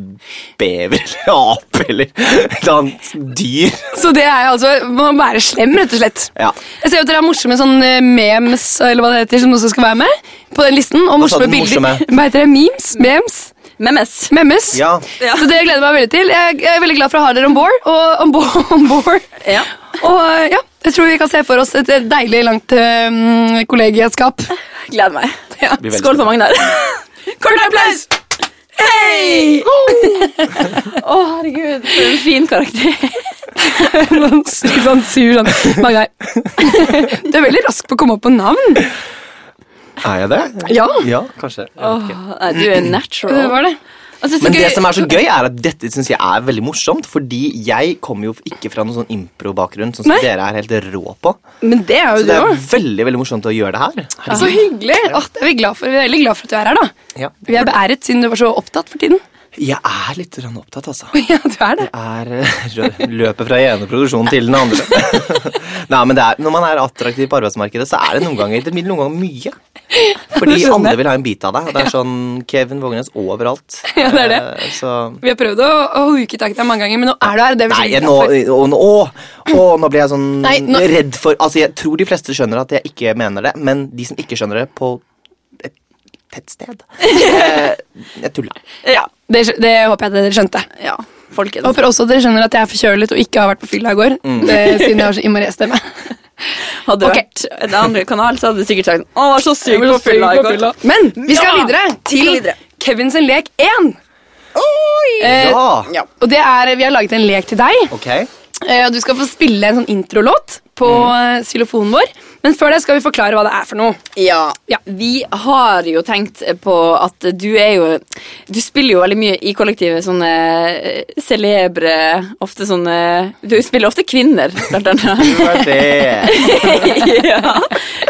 Speaker 3: bever eller ape eller et annet dyr.
Speaker 1: Så det er altså må være slem, rett og slett.
Speaker 3: Ja.
Speaker 1: Jeg ser jo at dere har morsomme sånn eh, memes eller hva det heter, som også skal være med på den listen. Og
Speaker 3: sa du
Speaker 1: morsomme bilder.
Speaker 3: morsomme?
Speaker 1: Hva heter det? Memes? Memes?
Speaker 2: Memes.
Speaker 1: Memmes?
Speaker 3: Ja.
Speaker 2: Ja.
Speaker 1: Så det gleder jeg meg veldig til. Jeg jeg er veldig glad for å ha dere om bord. Og om bord, om bord.
Speaker 2: Ja.
Speaker 1: Og ja, jeg tror vi kan se for oss et deilig langt um, kollegieskap.
Speaker 2: Gleder meg.
Speaker 1: Ja.
Speaker 3: Blir veldig
Speaker 2: Skål for Magnar.
Speaker 1: Kort applaus!
Speaker 2: Hei! Å, herregud, for en fin karakter.
Speaker 1: Litt sånn sur sånn. Magnar. Du er veldig rask på å komme opp på navn.
Speaker 3: Er jeg det?
Speaker 1: Ja,
Speaker 3: Ja, kanskje. Jeg vet ikke.
Speaker 2: Nei, du er natural.
Speaker 1: det var det.
Speaker 2: Altså, så
Speaker 3: Men det
Speaker 2: gøy-
Speaker 3: som er så gøy, er at dette synes jeg er veldig morsomt. Fordi jeg kommer jo ikke fra noen sånn impro-bakgrunn, sånn som
Speaker 1: Nei.
Speaker 3: dere er helt rå på.
Speaker 1: Men det er
Speaker 3: Så
Speaker 1: jo du
Speaker 3: det er
Speaker 1: òg.
Speaker 3: veldig veldig morsomt å gjøre det her.
Speaker 1: Så hyggelig. Åh, det er vi, glad for. vi er veldig glad for at du er her, da.
Speaker 3: Ja.
Speaker 1: Vi er beæret siden du var så opptatt for tiden.
Speaker 3: Jeg er litt grann opptatt, altså.
Speaker 1: Ja, du er det.
Speaker 3: Er eh, rø- løpet fra ene produksjonen til den andre. Nei, men det er, Når man er attraktiv på arbeidsmarkedet, så er det noen ganger, det blir noen ganger mye. Fordi
Speaker 1: skjønner
Speaker 3: alle
Speaker 1: jeg.
Speaker 3: vil ha en bit av deg. og Det er sånn Kevin Vågenes overalt.
Speaker 1: Ja, det er det.
Speaker 3: Eh, Så
Speaker 1: Vi har prøvd å, å huke tak i deg mange ganger, men nå er du her. og Det er vi
Speaker 3: Nei,
Speaker 1: veldig
Speaker 3: jeg, nå,
Speaker 1: glad for.
Speaker 3: å, nå, å, å, nå ble jeg sånn
Speaker 1: Nei, nå-
Speaker 3: redd for Altså, jeg tror de fleste skjønner at jeg ikke mener det, men de som ikke skjønner det, på et tett sted eh, Jeg tulla.
Speaker 2: Ja.
Speaker 1: Det, skj- det håper jeg at dere skjønte.
Speaker 2: ja.
Speaker 1: Jeg
Speaker 2: Folkens.
Speaker 1: håper også at dere skjønner at jeg er forkjølet og ikke har vært på fylla i går.
Speaker 3: Mm.
Speaker 1: eh, siden jeg har så innmari stemme.
Speaker 2: Hadde det
Speaker 1: Ok.
Speaker 2: vært en annen kanal, så hadde du sikkert sagt Å, var så syk
Speaker 1: Jeg
Speaker 2: på
Speaker 1: var så
Speaker 2: fylla
Speaker 1: syk
Speaker 2: i
Speaker 1: på
Speaker 2: går.
Speaker 1: fylla. Men vi skal
Speaker 2: Ja,
Speaker 1: videre til
Speaker 2: skal videre.
Speaker 1: Kevin sin lek 1. Eh,
Speaker 3: Ja!
Speaker 2: Ja.
Speaker 1: Og det er, Vi har laget en lek til deg.
Speaker 3: Ok.
Speaker 1: Mm. eh, og Du skal få spille en sånn introlåt på eh, xylofonen vår. Men før det skal vi forklare hva det er for noe.
Speaker 2: Ja.
Speaker 1: Ja.
Speaker 2: Vi har jo tenkt på at du er jo Du spiller jo veldig mye i kollektivet sånne eh, celebre Ofte sånne Du spiller ofte kvinner, blant annet.
Speaker 3: Hva er det?
Speaker 2: ja.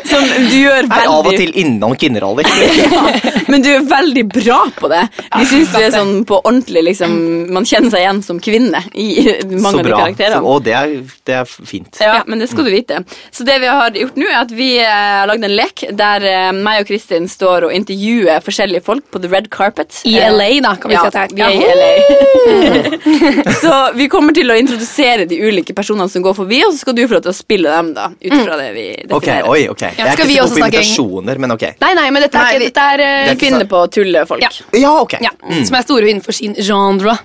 Speaker 2: Som du gjør
Speaker 3: Er av og
Speaker 2: veldig
Speaker 3: til innom kvinneroller. er
Speaker 2: Men du er veldig bra på det. Vi syns du er sånn på ordentlig liksom Man kjenner seg igjen som kvinne i mange
Speaker 3: Så
Speaker 2: av de
Speaker 3: bra.
Speaker 2: karakterene.
Speaker 3: Så, og det er, det er fint.
Speaker 2: Ja, men det skal du vite. Så det vi har gjort nå, er at vi eh, har lagd en lek der eh, meg og Kristin står og intervjuer forskjellige folk på the red carpet.
Speaker 1: I
Speaker 2: Eh,
Speaker 1: LA, da, kan vi si at det er.
Speaker 2: vi er
Speaker 1: Ja.
Speaker 2: i LA. så vi kommer til å introdusere de ulike personene som går forbi, og så skal du få lov til å spille dem, da, ut
Speaker 1: Mm.
Speaker 2: fra det vi
Speaker 3: Ok,
Speaker 2: definerer.
Speaker 3: oi, ok. Jeg er
Speaker 1: skal vi
Speaker 3: ikke så
Speaker 1: også
Speaker 3: god på
Speaker 1: snakke eng-
Speaker 3: invitasjoner, men ok.
Speaker 1: Nei, nei, men dette
Speaker 2: Nei,
Speaker 1: er,
Speaker 2: vi-
Speaker 1: ikke, dette er, eh,
Speaker 3: Det er ikke
Speaker 2: Finne på å tulle folk.
Speaker 1: Ja.
Speaker 3: Ja, ok. Mm.
Speaker 1: ja, Som er store innenfor sin genre.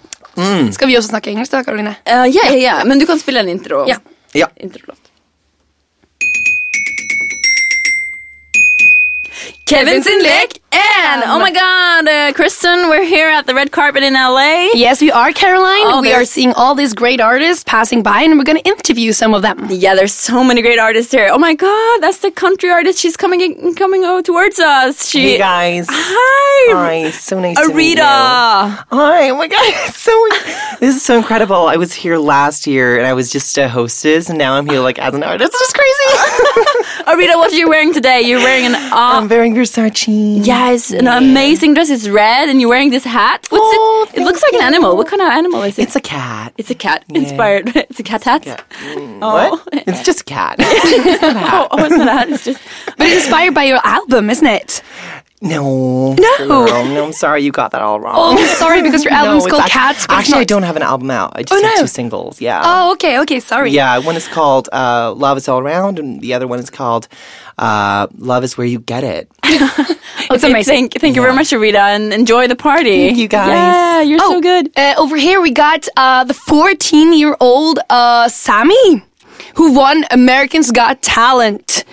Speaker 1: Skal vi også snakke engelsk, da, Karoline?
Speaker 2: Eh, ja, ja, ja. Men du kan spille en intro.
Speaker 1: Ja.
Speaker 3: Ja.
Speaker 2: Introlåt. Kevin sin lek and oh my god, uh, Kristen, we're here at the red carpet in LA.
Speaker 1: Yes, we are, Caroline.
Speaker 2: Oh,
Speaker 1: we
Speaker 2: there's-
Speaker 1: are seeing all these great artists passing by, and we're going to interview some of them.
Speaker 2: Yeah, there's so many great artists here. Oh my god, that's the country artist. She's coming in, coming over towards us. She
Speaker 3: Hey guys.
Speaker 2: hi,
Speaker 3: Hi, so nice to meet you.
Speaker 2: Arita.
Speaker 3: Hi, oh my god, it's so this is so incredible. I was here last year and I was just a hostess and now I'm here like as an artist. It's just crazy.
Speaker 2: Arita, what are you wearing today? You're wearing an uh,
Speaker 3: I'm wearing Versace.
Speaker 2: yeah, it's an amazing dress. It's red, and you're wearing this hat. What's
Speaker 3: Oh,
Speaker 2: it? It
Speaker 3: thank
Speaker 2: looks like an
Speaker 3: you.
Speaker 2: animal. What kind of animal is it?
Speaker 3: It's a cat.
Speaker 2: It's a cat inspired. It's a cat hat.
Speaker 3: What? It's just a cat. It's not a hat.
Speaker 2: Oh, oh, it's not a hat. It's just.
Speaker 1: But it's inspired by your album, isn't it?
Speaker 3: No. No. No, I'm sorry you got that all wrong.
Speaker 1: Oh, sorry, because your album's
Speaker 3: it's
Speaker 1: called
Speaker 3: act-
Speaker 1: Cats. but it's
Speaker 3: Actually, I
Speaker 1: not-
Speaker 3: don't have an album out. I just
Speaker 1: Oh,
Speaker 3: have
Speaker 1: no.
Speaker 3: two singles. Yeah.
Speaker 1: Oh, okay, okay, sorry.
Speaker 3: Yeah, one is called uh, Love Is All Around, and the other one is called uh, Love Is Where You Get It.
Speaker 1: It's amazing.
Speaker 2: Thank, thank you very much, Rita, and enjoy the party.
Speaker 3: Thank you, guys.
Speaker 2: Yeah, you're
Speaker 1: Oh,
Speaker 2: so good.
Speaker 1: Uh, over here we got uh, the 14 year old uh, Sammy, who won Americans Got Talent.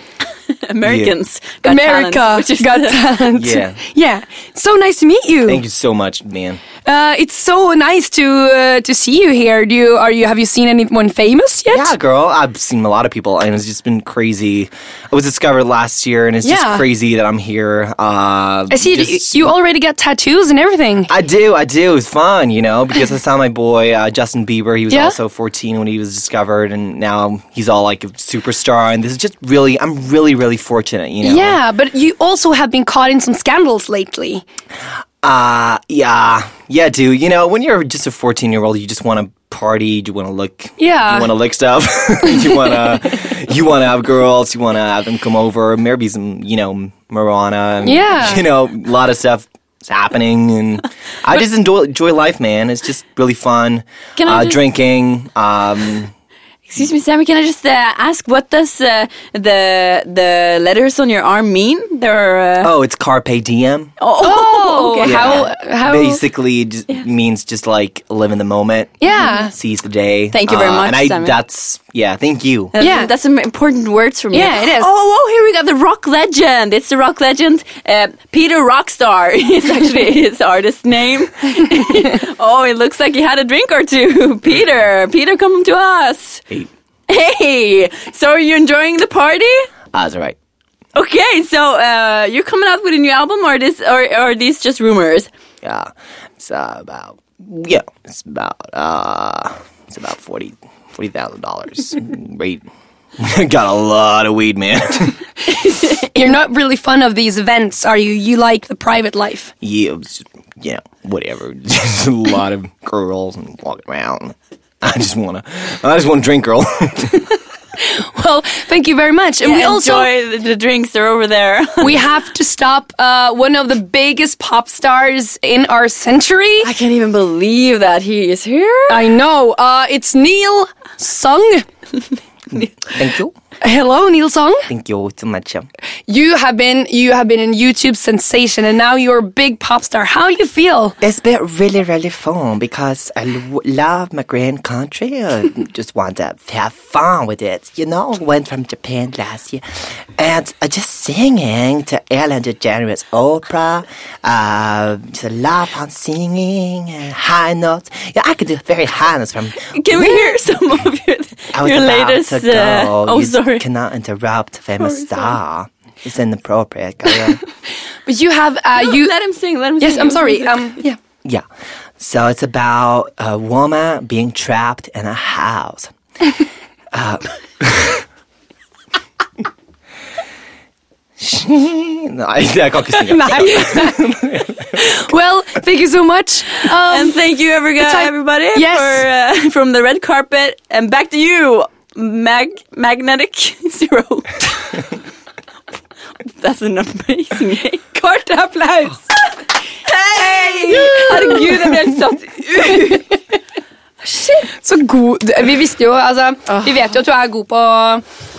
Speaker 2: Americans, got
Speaker 1: America
Speaker 2: talent, which is-
Speaker 1: Got Talent.
Speaker 3: Yeah.
Speaker 1: yeah. So nice to meet you.
Speaker 3: Thank you so much, man.
Speaker 1: Uh, it's so nice to uh, to see you here. Do you are you have you seen anyone famous yet?
Speaker 3: Yeah, girl. I've seen a lot of people, and it's just been crazy. I was discovered last year, and it's
Speaker 1: Yeah.
Speaker 3: just crazy that I'm here. Uh,
Speaker 1: I see
Speaker 3: just-
Speaker 1: you, you already got tattoos and everything.
Speaker 3: I do, I do. It was fun, you know, because I saw my boy uh, Justin Bieber. He was
Speaker 1: Yeah?
Speaker 3: also 14 when he was discovered, and now he's all like a superstar. And this is just really, I'm really, really fortunate, you know.
Speaker 1: Yeah, but you also have been caught in some scandals lately.
Speaker 3: Uh, yeah, yeah, dude. You know, when you're just a 14 year old, you just want to party. You want to look.
Speaker 1: Yeah.
Speaker 3: You want to lick stuff. you want to. You want to have girls. You want to have them come over. Maybe some, you know, marijuana. and,
Speaker 1: Yeah.
Speaker 3: You know, a lot of stuff is happening, and I just enjoy, enjoy life, man. It's just really fun.
Speaker 2: Can I
Speaker 3: uh,
Speaker 2: just-
Speaker 3: drinking. Um,
Speaker 2: Excuse me, Sammy. Can I just uh, ask what does uh, the the letters on your arm mean? They're uh,
Speaker 3: oh, it's carpe diem.
Speaker 2: oh, okay.
Speaker 3: Yeah.
Speaker 1: How how
Speaker 3: basically it just means just like live in the moment.
Speaker 1: Yeah.
Speaker 3: Seize the day. Uh,
Speaker 2: Thank you very much,
Speaker 3: And I
Speaker 2: Simon.
Speaker 3: that's yeah, thank you.
Speaker 2: That's,
Speaker 1: Yeah.
Speaker 2: Um, that's some important words for me.
Speaker 1: Yeah, it is.
Speaker 2: Oh, oh, here we got the rock legend. It's the rock legend, uh, Peter Rockstar. It's actually his artist name. oh, it looks like he had a drink or two. Peter, Peter, come to us.
Speaker 3: Hey,
Speaker 2: Hey, so are you enjoying the party?
Speaker 3: Uh, that's all right.
Speaker 2: Okay, so uh, you're coming out with a new album, or this, or, or are these just rumors?
Speaker 3: Yeah. It's uh, about yeah, it's about uh it's about forty forty thousand dollars. Wait. Got a lot of weed, man.
Speaker 1: you're not really fun of these events, are you? You like the private life.
Speaker 3: yeah, it's- yeah, whatever. Just a lot of girls and walking around. I just wanna I just wanna drink girl.
Speaker 1: Well, thank you very much. And we also
Speaker 2: enjoy the, the drinks. They're over there.
Speaker 1: we have to stop uh, one of the biggest pop stars in our century.
Speaker 2: I can't even believe that he is here.
Speaker 1: I know. Uh, it's Neil Sung.
Speaker 3: Thank you.
Speaker 1: Hello, Neil Sung.
Speaker 3: Thank you so much.
Speaker 1: You have been you have been a YouTube sensation, and now you're a big pop star. How you feel?
Speaker 3: It's been really, really fun because I lo- love my grand country. I just want to have fun with it. You know, went from Japan last year, and I just singing to Ellen DeGeneres' opera. Uh, just love on singing and high notes. Yeah, I could do very high notes from.
Speaker 2: Can we hear some of your,
Speaker 3: I was
Speaker 2: your
Speaker 3: about
Speaker 2: latest?
Speaker 3: to
Speaker 2: uh,
Speaker 3: go.
Speaker 2: oh,
Speaker 3: you
Speaker 2: sorry.
Speaker 3: cannot interrupt famous
Speaker 2: Sorry, sorry.
Speaker 3: star. It's inappropriate. Kaya.
Speaker 1: But you have uh,
Speaker 2: No,
Speaker 1: you.
Speaker 2: let him sing. Let him
Speaker 1: Yes,
Speaker 2: sing.
Speaker 1: I'm sorry. Um, yeah.
Speaker 3: Yeah. So it's about a woman being trapped in a house. Uh, Nei, jeg kan ikke synge.
Speaker 1: Well, thank you so much. Um,
Speaker 2: and thank you, every guy,
Speaker 1: time-
Speaker 2: everybody,
Speaker 1: Yes.
Speaker 2: for uh, from the red carpet and back to you, Mag Magnetic Zero. That's an amazing name. Kort applaus. Hei! Herregud, jeg ble helt satt ut.
Speaker 1: så god du- Vi visste jo, altså
Speaker 2: Ah.
Speaker 1: Vi vet jo at du er god på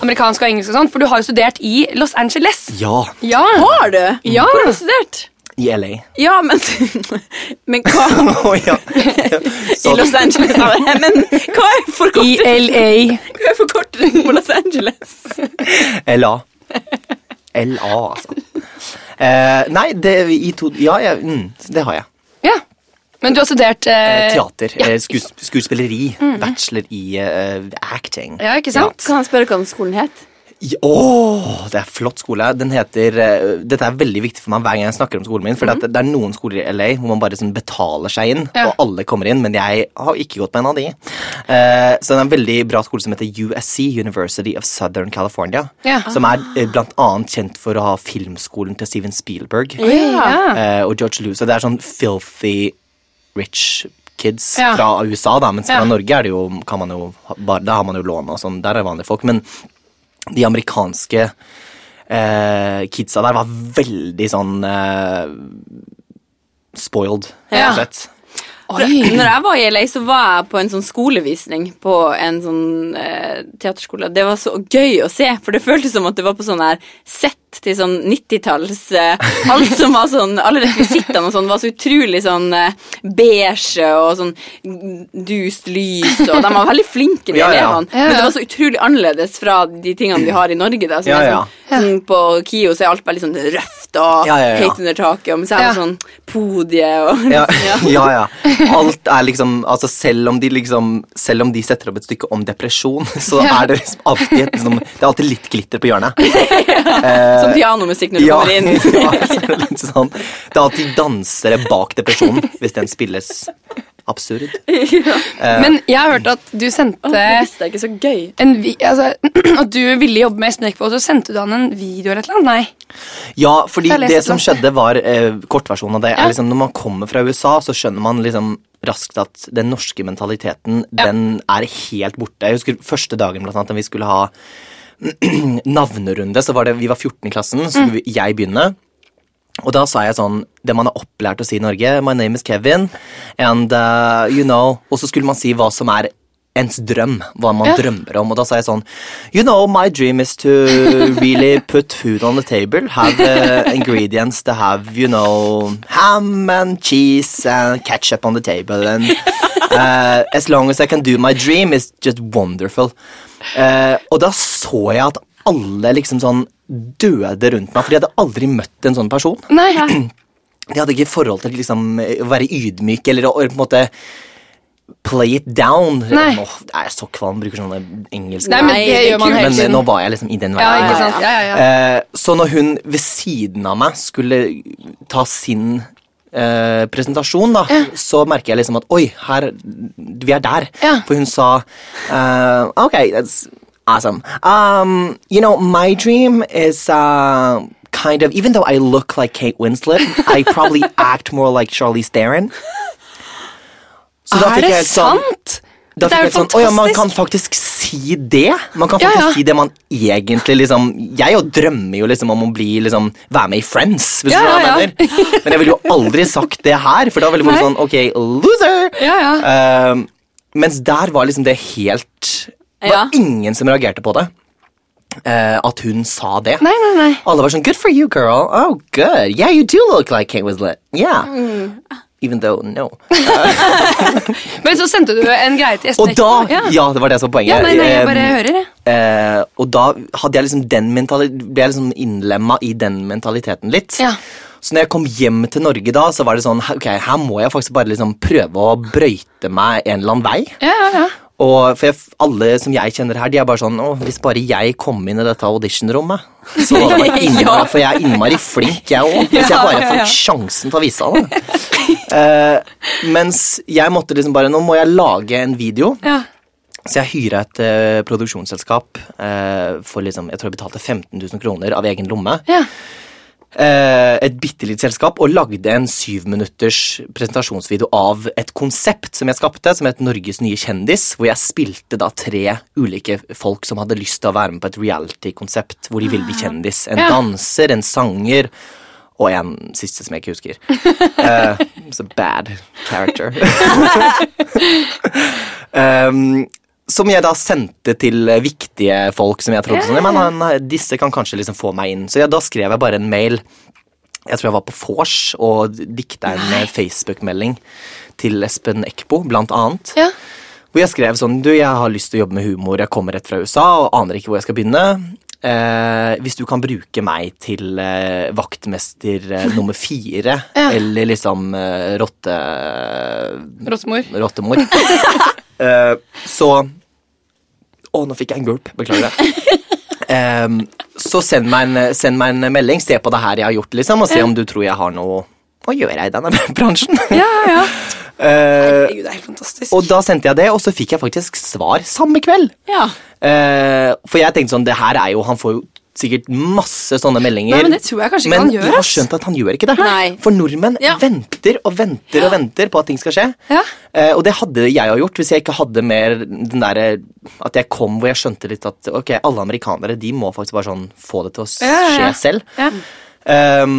Speaker 1: amerikansk og engelsk og sånn, for du har jo studert i Los Angeles.
Speaker 3: Ja,
Speaker 1: Ja.
Speaker 2: Har du?
Speaker 1: Ja.
Speaker 2: Hvor har du studert?
Speaker 3: i LA.
Speaker 2: Ja, men Men hva
Speaker 3: Å, ja.
Speaker 2: I Los Angeles, sa jeg. Men hva er forkortelsen
Speaker 1: ELA.
Speaker 2: Hva er forkortelsen på Los Angeles?
Speaker 3: LA. LA, altså. Eh, nei, det i to Ja, jeg, mm, det har jeg.
Speaker 1: Ja. Men du har studert
Speaker 3: Eh,
Speaker 1: eh, Mm.
Speaker 3: Teater. eh, Skues, skuespilleri. Bachelor i eh, acting.
Speaker 1: Ja, ikke sant?
Speaker 2: Kan han spørre hva den skolen het?
Speaker 3: I- Åh, det er flott skole. Den heter, eh, dette er veldig viktig for meg hver gang jeg snakker om skolen min. For det, at det er noen skoler i LA hvor man bare sånn betaler seg inn,
Speaker 1: Mhm. Ja.
Speaker 3: og alle kommer inn, men jeg har ikke gått på en av de. Eh, så det er en veldig bra skole som heter USC, University of Southern California.
Speaker 1: Ja.
Speaker 3: Som er eh, blant annet kjent for å ha filmskolen til Steven Spielberg
Speaker 1: Oi, ja.
Speaker 3: eh, og George Lucas. Det er sånn filthy rich kids
Speaker 1: Ja.
Speaker 3: fra USA, da, mens fra
Speaker 1: Ja.
Speaker 3: Norge er det jo, kan man jo ha- bare, da har man jo lån og sånn. Der er det vanlige folk. Men de amerikanske eh, kidsa der var veldig sånn eh, spoiled, rett
Speaker 1: Ja.
Speaker 3: og slett.
Speaker 2: For, når jeg var i LA, så var jeg på en sånn skolevisning på en sånn eh, teaterskole. Det var så gøy å se, for det føltes som at det var på sånn her sett til sånn 90-talls eh, Alt som var sånn, alle rekvisittene og sånn var så utrolig sånn eh, beige og sånn dust lys, og de var veldig flinke, de
Speaker 3: Ja, ja.
Speaker 2: elevene.
Speaker 1: Ja, ja.
Speaker 2: Men det var så utrolig annerledes fra de tingene vi har i Norge, da. Som
Speaker 3: Ja,
Speaker 2: er
Speaker 3: ja.
Speaker 2: sånn, sånn på KIO så er alt veldig sånn røft og
Speaker 3: Ja, ja, ja.
Speaker 2: høyt under taket, og mens jeg
Speaker 1: Ja.
Speaker 2: var sånn podie og
Speaker 3: Ja, ja, ja. Alt er liksom Altså, selv om de liksom Selv om de setter opp et stykke om depresjon, så
Speaker 1: Ja.
Speaker 3: er det liksom alltid et liksom, Det er alltid litt glitter på hjørnet.
Speaker 2: Som pianomusikk når du kommer inn.
Speaker 3: Eh, ja, så det er litt sånn. Det er alltid dansere bak depresjonen hvis den spilles absurd. eh,
Speaker 1: Men jeg har hørt at du
Speaker 2: Åh,
Speaker 1: sendte
Speaker 2: det visste jeg ikke så gøy.
Speaker 1: en vi altså, At du ville jobbe med Espen Eckbo, og så sendte du han en video eller et eller annet? Nei.
Speaker 3: Ja, fordi
Speaker 1: Da leser
Speaker 3: det
Speaker 1: jeg
Speaker 3: som
Speaker 1: plass.
Speaker 3: skjedde, var eh, kortversjonen av det.
Speaker 1: Ja.
Speaker 3: Er liksom, når man kommer fra USA, så skjønner man liksom raskt at den norske mentaliteten den er helt borte. Jeg husker første dagen blant annet, da vi skulle ha navnerunde, så var det Vi var 14 i klassen, så
Speaker 1: Mm.
Speaker 3: skulle vi- jeg begynne. Og da sa jeg sånn Det man er opplært å si i Norge. My name is Kevin. And uh, you know Og så skulle man si hva som er ens drøm. Hva man
Speaker 1: Ja.
Speaker 3: drømmer om. Og da sa jeg sånn You know, my dream is to really put food on the table. Have uh, ingredients to have, you know, ham and cheese and ketchup on the table. And uh, as long as I can do my dream is just wonderful. Eh, og da så jeg at alle liksom sånn døde rundt meg, for de hadde aldri møtt en sånn person.
Speaker 1: Nei.
Speaker 3: De hadde ikke forhold til liksom, eh, å være ydmyk eller å å på en måte play it down.
Speaker 1: Nei.
Speaker 3: Åh, jeg er så kvalm, bruker sånne engelske
Speaker 1: Nei, men
Speaker 2: Nei,
Speaker 1: det
Speaker 2: det er
Speaker 1: gjør man
Speaker 2: kult.
Speaker 1: hele
Speaker 3: men eh,
Speaker 1: tiden.
Speaker 3: nå var jeg liksom i den
Speaker 1: Ja,
Speaker 3: verden.
Speaker 1: ikke
Speaker 2: Ja, ja,
Speaker 1: sant. Ja, ja, ja.
Speaker 3: Eh, så når hun ved siden av meg skulle ta sin eh, presentasjon, da, så merker jeg liksom at oi, her, vi er der.
Speaker 1: Ja.
Speaker 3: For hun sa eh, Ok, that's awesome. Um, you know, my dream is uh, kind of Even though I look like Kate Winslet, I probably act more like Charlize Theron. Så da
Speaker 1: er
Speaker 3: fikk
Speaker 1: det
Speaker 3: jeg et sånn-
Speaker 1: sant?
Speaker 3: da
Speaker 1: Det
Speaker 3: fikk
Speaker 1: er
Speaker 3: jeg
Speaker 1: jo
Speaker 3: sånn, «Å ja, man kan
Speaker 1: fantastisk.
Speaker 3: faktisk si det. Man kan
Speaker 1: Ja,
Speaker 3: faktisk
Speaker 1: ja.
Speaker 3: si det man egentlig liksom Jeg jo drømmer jo liksom om å bli liksom Være med i Friends, hvis
Speaker 1: Ja,
Speaker 3: du hva
Speaker 1: ja, ja.
Speaker 3: jeg mener. Men jeg ville jo aldri sagt det her, for da ville folk
Speaker 1: Nei.
Speaker 3: sånn Ok, loser!
Speaker 1: Ja, ja.
Speaker 3: Eh, mens der var liksom det helt Det var
Speaker 2: Ja.
Speaker 3: ingen som reagerte på det. eh, at hun sa det.
Speaker 1: Nei, nei, nei.
Speaker 3: Alle var sånn Good for you, girl. Oh, good. Yeah, you do look like Kate Winslet. Yeah.
Speaker 1: Mm.
Speaker 3: Even though, no.
Speaker 1: Men så sendte du en greie til Espen
Speaker 3: Og da
Speaker 1: Eckbo. ja.
Speaker 3: Ja, det var det som var poenget.
Speaker 1: ja, nei, nei,
Speaker 3: Eh,
Speaker 1: jeg bare hører, jeg.
Speaker 3: Eh, og da hadde jeg liksom den mentali- ble jeg liksom innlemma i den mentaliteten litt.
Speaker 1: Ja.
Speaker 3: Så når jeg kom hjem til Norge, da, så var det sånn Ok, her må jeg faktisk bare liksom prøve å brøyte meg en eller annen vei.
Speaker 1: Ja, ja, ja.
Speaker 3: Og for jeg, alle som jeg kjenner her, de er bare sånn Å, hvis bare jeg kom inn i dette auditionrommet, så hadde jeg vært innmari, For jeg er innmari flink, jeg òg. Hvis jeg bare
Speaker 2: Ja, ja, ja.
Speaker 3: får sjansen til å vise av det. Eh, mens jeg måtte liksom bare Nå må jeg lage en video.
Speaker 1: ja.
Speaker 3: Så jeg hyra et eh, produksjonsselskap eh, for liksom, jeg tror jeg betalte 15 000 kroner av egen lomme.
Speaker 1: ja.
Speaker 3: Eh, et bitte lite selskap, og lagde en syvminutters presentasjonsvideo av et konsept som jeg skapte, som het Norges nye kjendis, hvor jeg spilte da tre ulike folk som hadde lyst til å være med på et reality-konsept hvor de ville bli kjendis. En
Speaker 1: Ja.
Speaker 3: danser, en sanger og en siste som jeg ikke husker. Eh, it's a bad character. Um, som jeg da sendte til eh, viktige folk som jeg trodde sånn, men han, disse kan kanskje liksom få meg inn. Så jeg, da skrev jeg bare en mail. Jeg tror jeg var på vors og dikta en eh, Facebook-melding til Espen Eckbo, blant annet.
Speaker 1: ja.
Speaker 3: Hvor jeg skrev sånn Du, jeg har lyst til å jobbe med humor, jeg kommer rett fra USA og aner ikke hvor jeg skal begynne. Eh, hvis du kan bruke meg til eh, vaktmester eh, nummer fire,
Speaker 1: Ja.
Speaker 3: eller liksom eh, rotte...
Speaker 1: Rottemor.
Speaker 3: Rottemor. Eh, så Å, nå fikk jeg en gulp. Beklager det. Ehm, så send meg, en, send meg en melding. Se på det her jeg har gjort, liksom, og se om du tror jeg har noe å gjøre i denne bransjen.
Speaker 1: Ja, ja.
Speaker 3: Eh,
Speaker 1: Herregud, det er helt fantastisk.
Speaker 3: og da sendte jeg det, og så fikk jeg faktisk svar samme kveld.
Speaker 2: Ja.
Speaker 3: Eh, for jeg tenkte sånn, det her er jo Han får jo sikkert masse sånne meldinger.
Speaker 1: Nei, men det tror jeg kanskje ikke
Speaker 3: Men
Speaker 1: han gjør,
Speaker 3: jeg har
Speaker 1: ass.
Speaker 3: skjønt at han gjør ikke det.
Speaker 2: Nei.
Speaker 3: For nordmenn
Speaker 2: Ja.
Speaker 3: venter og venter og venter på at ting skal skje.
Speaker 1: Ja.
Speaker 3: Eh, og det hadde jeg jo gjort hvis jeg ikke hadde mer den derre At jeg kom hvor jeg skjønte litt at ok, alle amerikanere de må faktisk bare sånn få det til å s- skje
Speaker 1: Ja, ja, ja.
Speaker 3: selv.
Speaker 1: Ja.
Speaker 3: Ehm,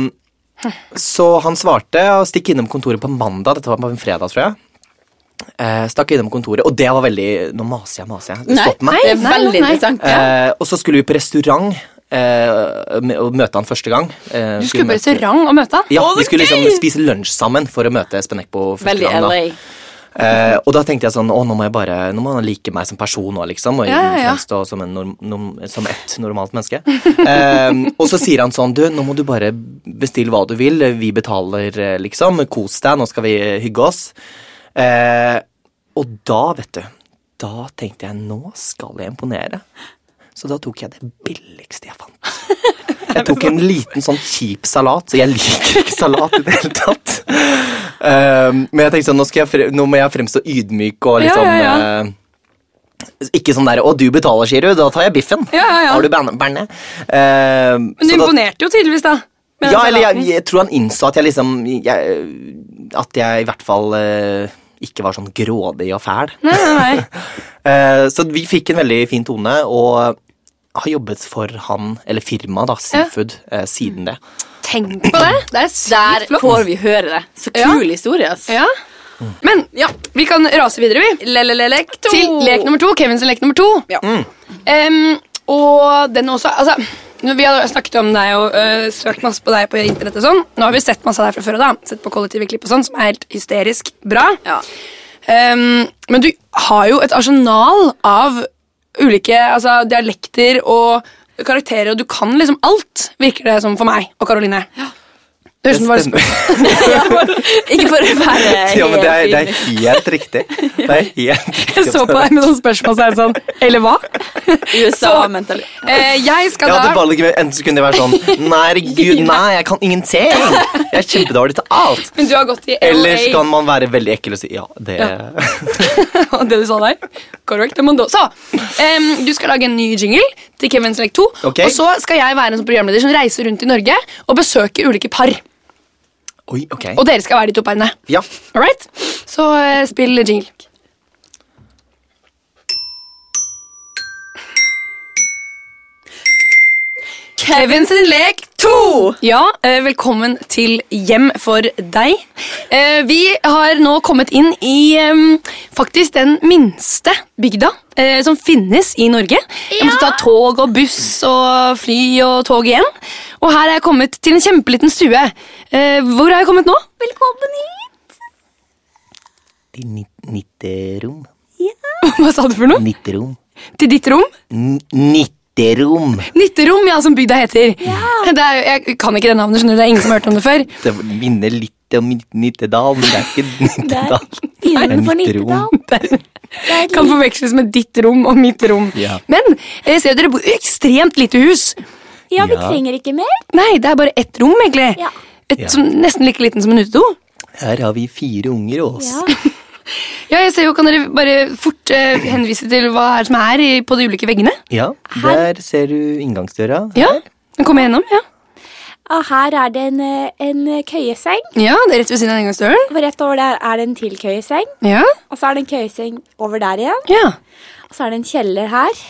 Speaker 3: så han svarte og stikk innom kontoret på mandag. Dette var på en fredag, tror jeg. Eh, stakk innom kontoret, og det var veldig Nå maser jeg, maser jeg. Stopp meg.
Speaker 2: det er
Speaker 1: Nei,
Speaker 2: veldig
Speaker 1: nei, nei.
Speaker 2: interessant. Ja.
Speaker 3: Eh, og så skulle vi på restaurant eh, mø- og møte han første gang. Eh,
Speaker 1: Du skulle på
Speaker 3: møte-
Speaker 1: restaurant og møte han?
Speaker 3: Ja,
Speaker 2: Å,
Speaker 3: vi
Speaker 2: det er
Speaker 3: skulle liksom
Speaker 2: gøy!
Speaker 3: spise lunsj sammen for å møte Espen Eckbo. første
Speaker 2: Veldig
Speaker 3: gang, da.
Speaker 2: LA.
Speaker 3: Eh, og da tenkte jeg sånn, å nå må jeg bare, nå må han like meg som person nå liksom, og
Speaker 1: Ja, ja, ja.
Speaker 3: fremstå som, en norm, norm, som et normalt menneske. Eh, og så sier han sånn, du, nå må du bare bestille hva du vil, vi betaler eh, liksom, kos deg, nå skal vi hygge oss. Eh, og da, vet du, da tenkte jeg, nå skal jeg imponere. Så da tok jeg det billigste jeg fant. Jeg tok en liten sånn kjip salat, så jeg liker ikke salat i det hele tatt. Ehm, men jeg tenkte sånn, nå, skal jeg fre nå må jeg fremstå ydmyk og liksom
Speaker 1: Ja, ja,
Speaker 3: eh, Ikke sånn derre 'Å, du betaler, sier du. Da tar jeg biffen.'
Speaker 1: Ja, ja, ja.
Speaker 3: Har du berne? berne?
Speaker 1: Men
Speaker 3: Ehm,
Speaker 1: du
Speaker 3: så da-
Speaker 1: imponerte jo tydeligvis, da. med den
Speaker 3: ja, eller jeg,
Speaker 1: salaten.
Speaker 3: jeg tror han innså at jeg liksom jeg, At jeg i hvert fall eh, ikke var sånn grådig og fæl.
Speaker 1: Nei, nei, nei.
Speaker 3: Eh, så vi fikk en veldig fin tone, og har jobbet for han, eller firmaet, da, Seafood, eh, siden det.
Speaker 1: Tenk på det. Det er
Speaker 2: Der
Speaker 1: sykt flott.
Speaker 2: får vi høre det. Så
Speaker 1: Ja.
Speaker 2: kul historie, ass.
Speaker 1: Ja. Men vi kan rase videre, vi.
Speaker 2: Lelelelek to.
Speaker 1: Til lek nummer to. Kevins lek nummer to.
Speaker 2: Ja.
Speaker 1: Em, og den også Altså, nå- vi har snakket om deg og øh, søkt masse på deg på internett og sånn. Nå har vi sett masse av deg fra før av, da. Sett på kollektive klipp og sånn, som er helt hysterisk bra.
Speaker 2: Ja.
Speaker 1: Em, Ehm, men du har jo et arsenal av ulike altså, dialekter og karakterer, og du kan liksom alt, virker det som for meg og Karoline. Det liksom- høres ut som du bare spør.
Speaker 2: Ikke for å være
Speaker 3: Ja, men det er, det er
Speaker 2: helt
Speaker 3: helt riktig. Det er helt riktig.
Speaker 1: Jeg så på deg med noen spørsmål, så er det sånn Eller hva?
Speaker 2: USA-mentalitet.
Speaker 1: Eh, jeg skal
Speaker 3: Jeg hadde
Speaker 1: da
Speaker 3: bare ikke, Enten så kunne det være sånn Nei, herregud, nei, jeg kan ingenting. Jeg er kjempedårlig til alt.
Speaker 1: Men du har gått i LA.
Speaker 3: Ellers kan man være veldig ekkel og si ja, det
Speaker 1: Og det du sa der. Correct, Mondoza. Em, ehm, du skal lage en ny jingle til Kevin Select 2.
Speaker 3: Ok.
Speaker 1: Og så skal jeg være en sånn programleder som reiser rundt i Norge og besøker ulike par.
Speaker 3: Oi, ok.
Speaker 1: Og dere skal være de to parene.
Speaker 3: Ja.
Speaker 1: Alright? Så eh, spill jingle. Kevin sin lek
Speaker 2: to!
Speaker 1: Ja, eh, velkommen til hjem for deg. Eh, Vi har nå kommet inn i eh, faktisk den minste bygda eh, som finnes i Norge. Jeg måtte ta tog og buss og fly og tog igjen. Og her er jeg kommet til en kjempeliten stue. Eh, Hvor er jeg kommet nå? Velkommen hit!
Speaker 3: Til ni- Nitterom.
Speaker 1: Hva sa du for noe?
Speaker 3: Nitterom.
Speaker 1: Til ditt rom?
Speaker 3: N- Nitterom.
Speaker 1: Nitterom, ja, som bygda heter. Det er, jo- jeg kan ikke det navnet, skjønner du. Det er ingen som har hørt om det før.
Speaker 3: Det minner litt om Nit- Nittedal, men det er ikke Nittedal. Det er
Speaker 4: innenfor
Speaker 3: Nitterom.
Speaker 1: kan forveksles med ditt rom og mitt rom.
Speaker 3: Ja.
Speaker 1: Men jeg ser jo dere bor i ekstremt lite hus.
Speaker 4: Ja, vi
Speaker 3: Ja.
Speaker 4: trenger ikke mer.
Speaker 1: Nei, det er bare ett rom, egentlig.
Speaker 4: Ja.
Speaker 1: Et,
Speaker 3: Ja.
Speaker 1: som, nesten like liten som en utedo.
Speaker 3: Her har vi fire unger og oss.
Speaker 4: Ja.
Speaker 1: Ja, jeg ser jo, Kan dere bare fort eh, henvise til hva er det som er i, på de ulike veggene?
Speaker 3: Ja, der ser du inngangsdøra.
Speaker 1: Ja, den kommer jeg gjennom, ja.
Speaker 4: Og her er det en, eh, en køyeseng,
Speaker 1: Ja, Det er rett ved siden av inngangsdøren.
Speaker 4: og rett over der er det en til køyeseng.
Speaker 1: Ja,
Speaker 4: Og så er det en køyeseng over der igjen,
Speaker 1: ja.
Speaker 4: og så er det en kjeller her.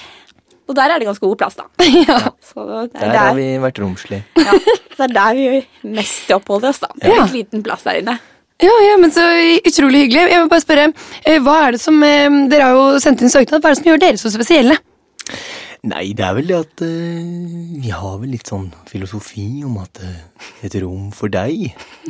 Speaker 4: Og der er det ganske god plass, da.
Speaker 1: ja.
Speaker 4: Så det er
Speaker 3: Der
Speaker 4: der,
Speaker 3: har vi vært romslige.
Speaker 4: ja, det er der vi mest oppholder oss, da. Det er
Speaker 1: Ja.
Speaker 4: en liten plass der inne.
Speaker 1: Ja, ja, men så utrolig hyggelig. Jeg må bare spørre, eh, hva er det som, eh, Dere har jo sendt inn søknad. Hva er det som gjør dere så spesielle?
Speaker 3: Nei, det er vel det at eh, vi har vel litt sånn filosofi om at eh, et rom for deg,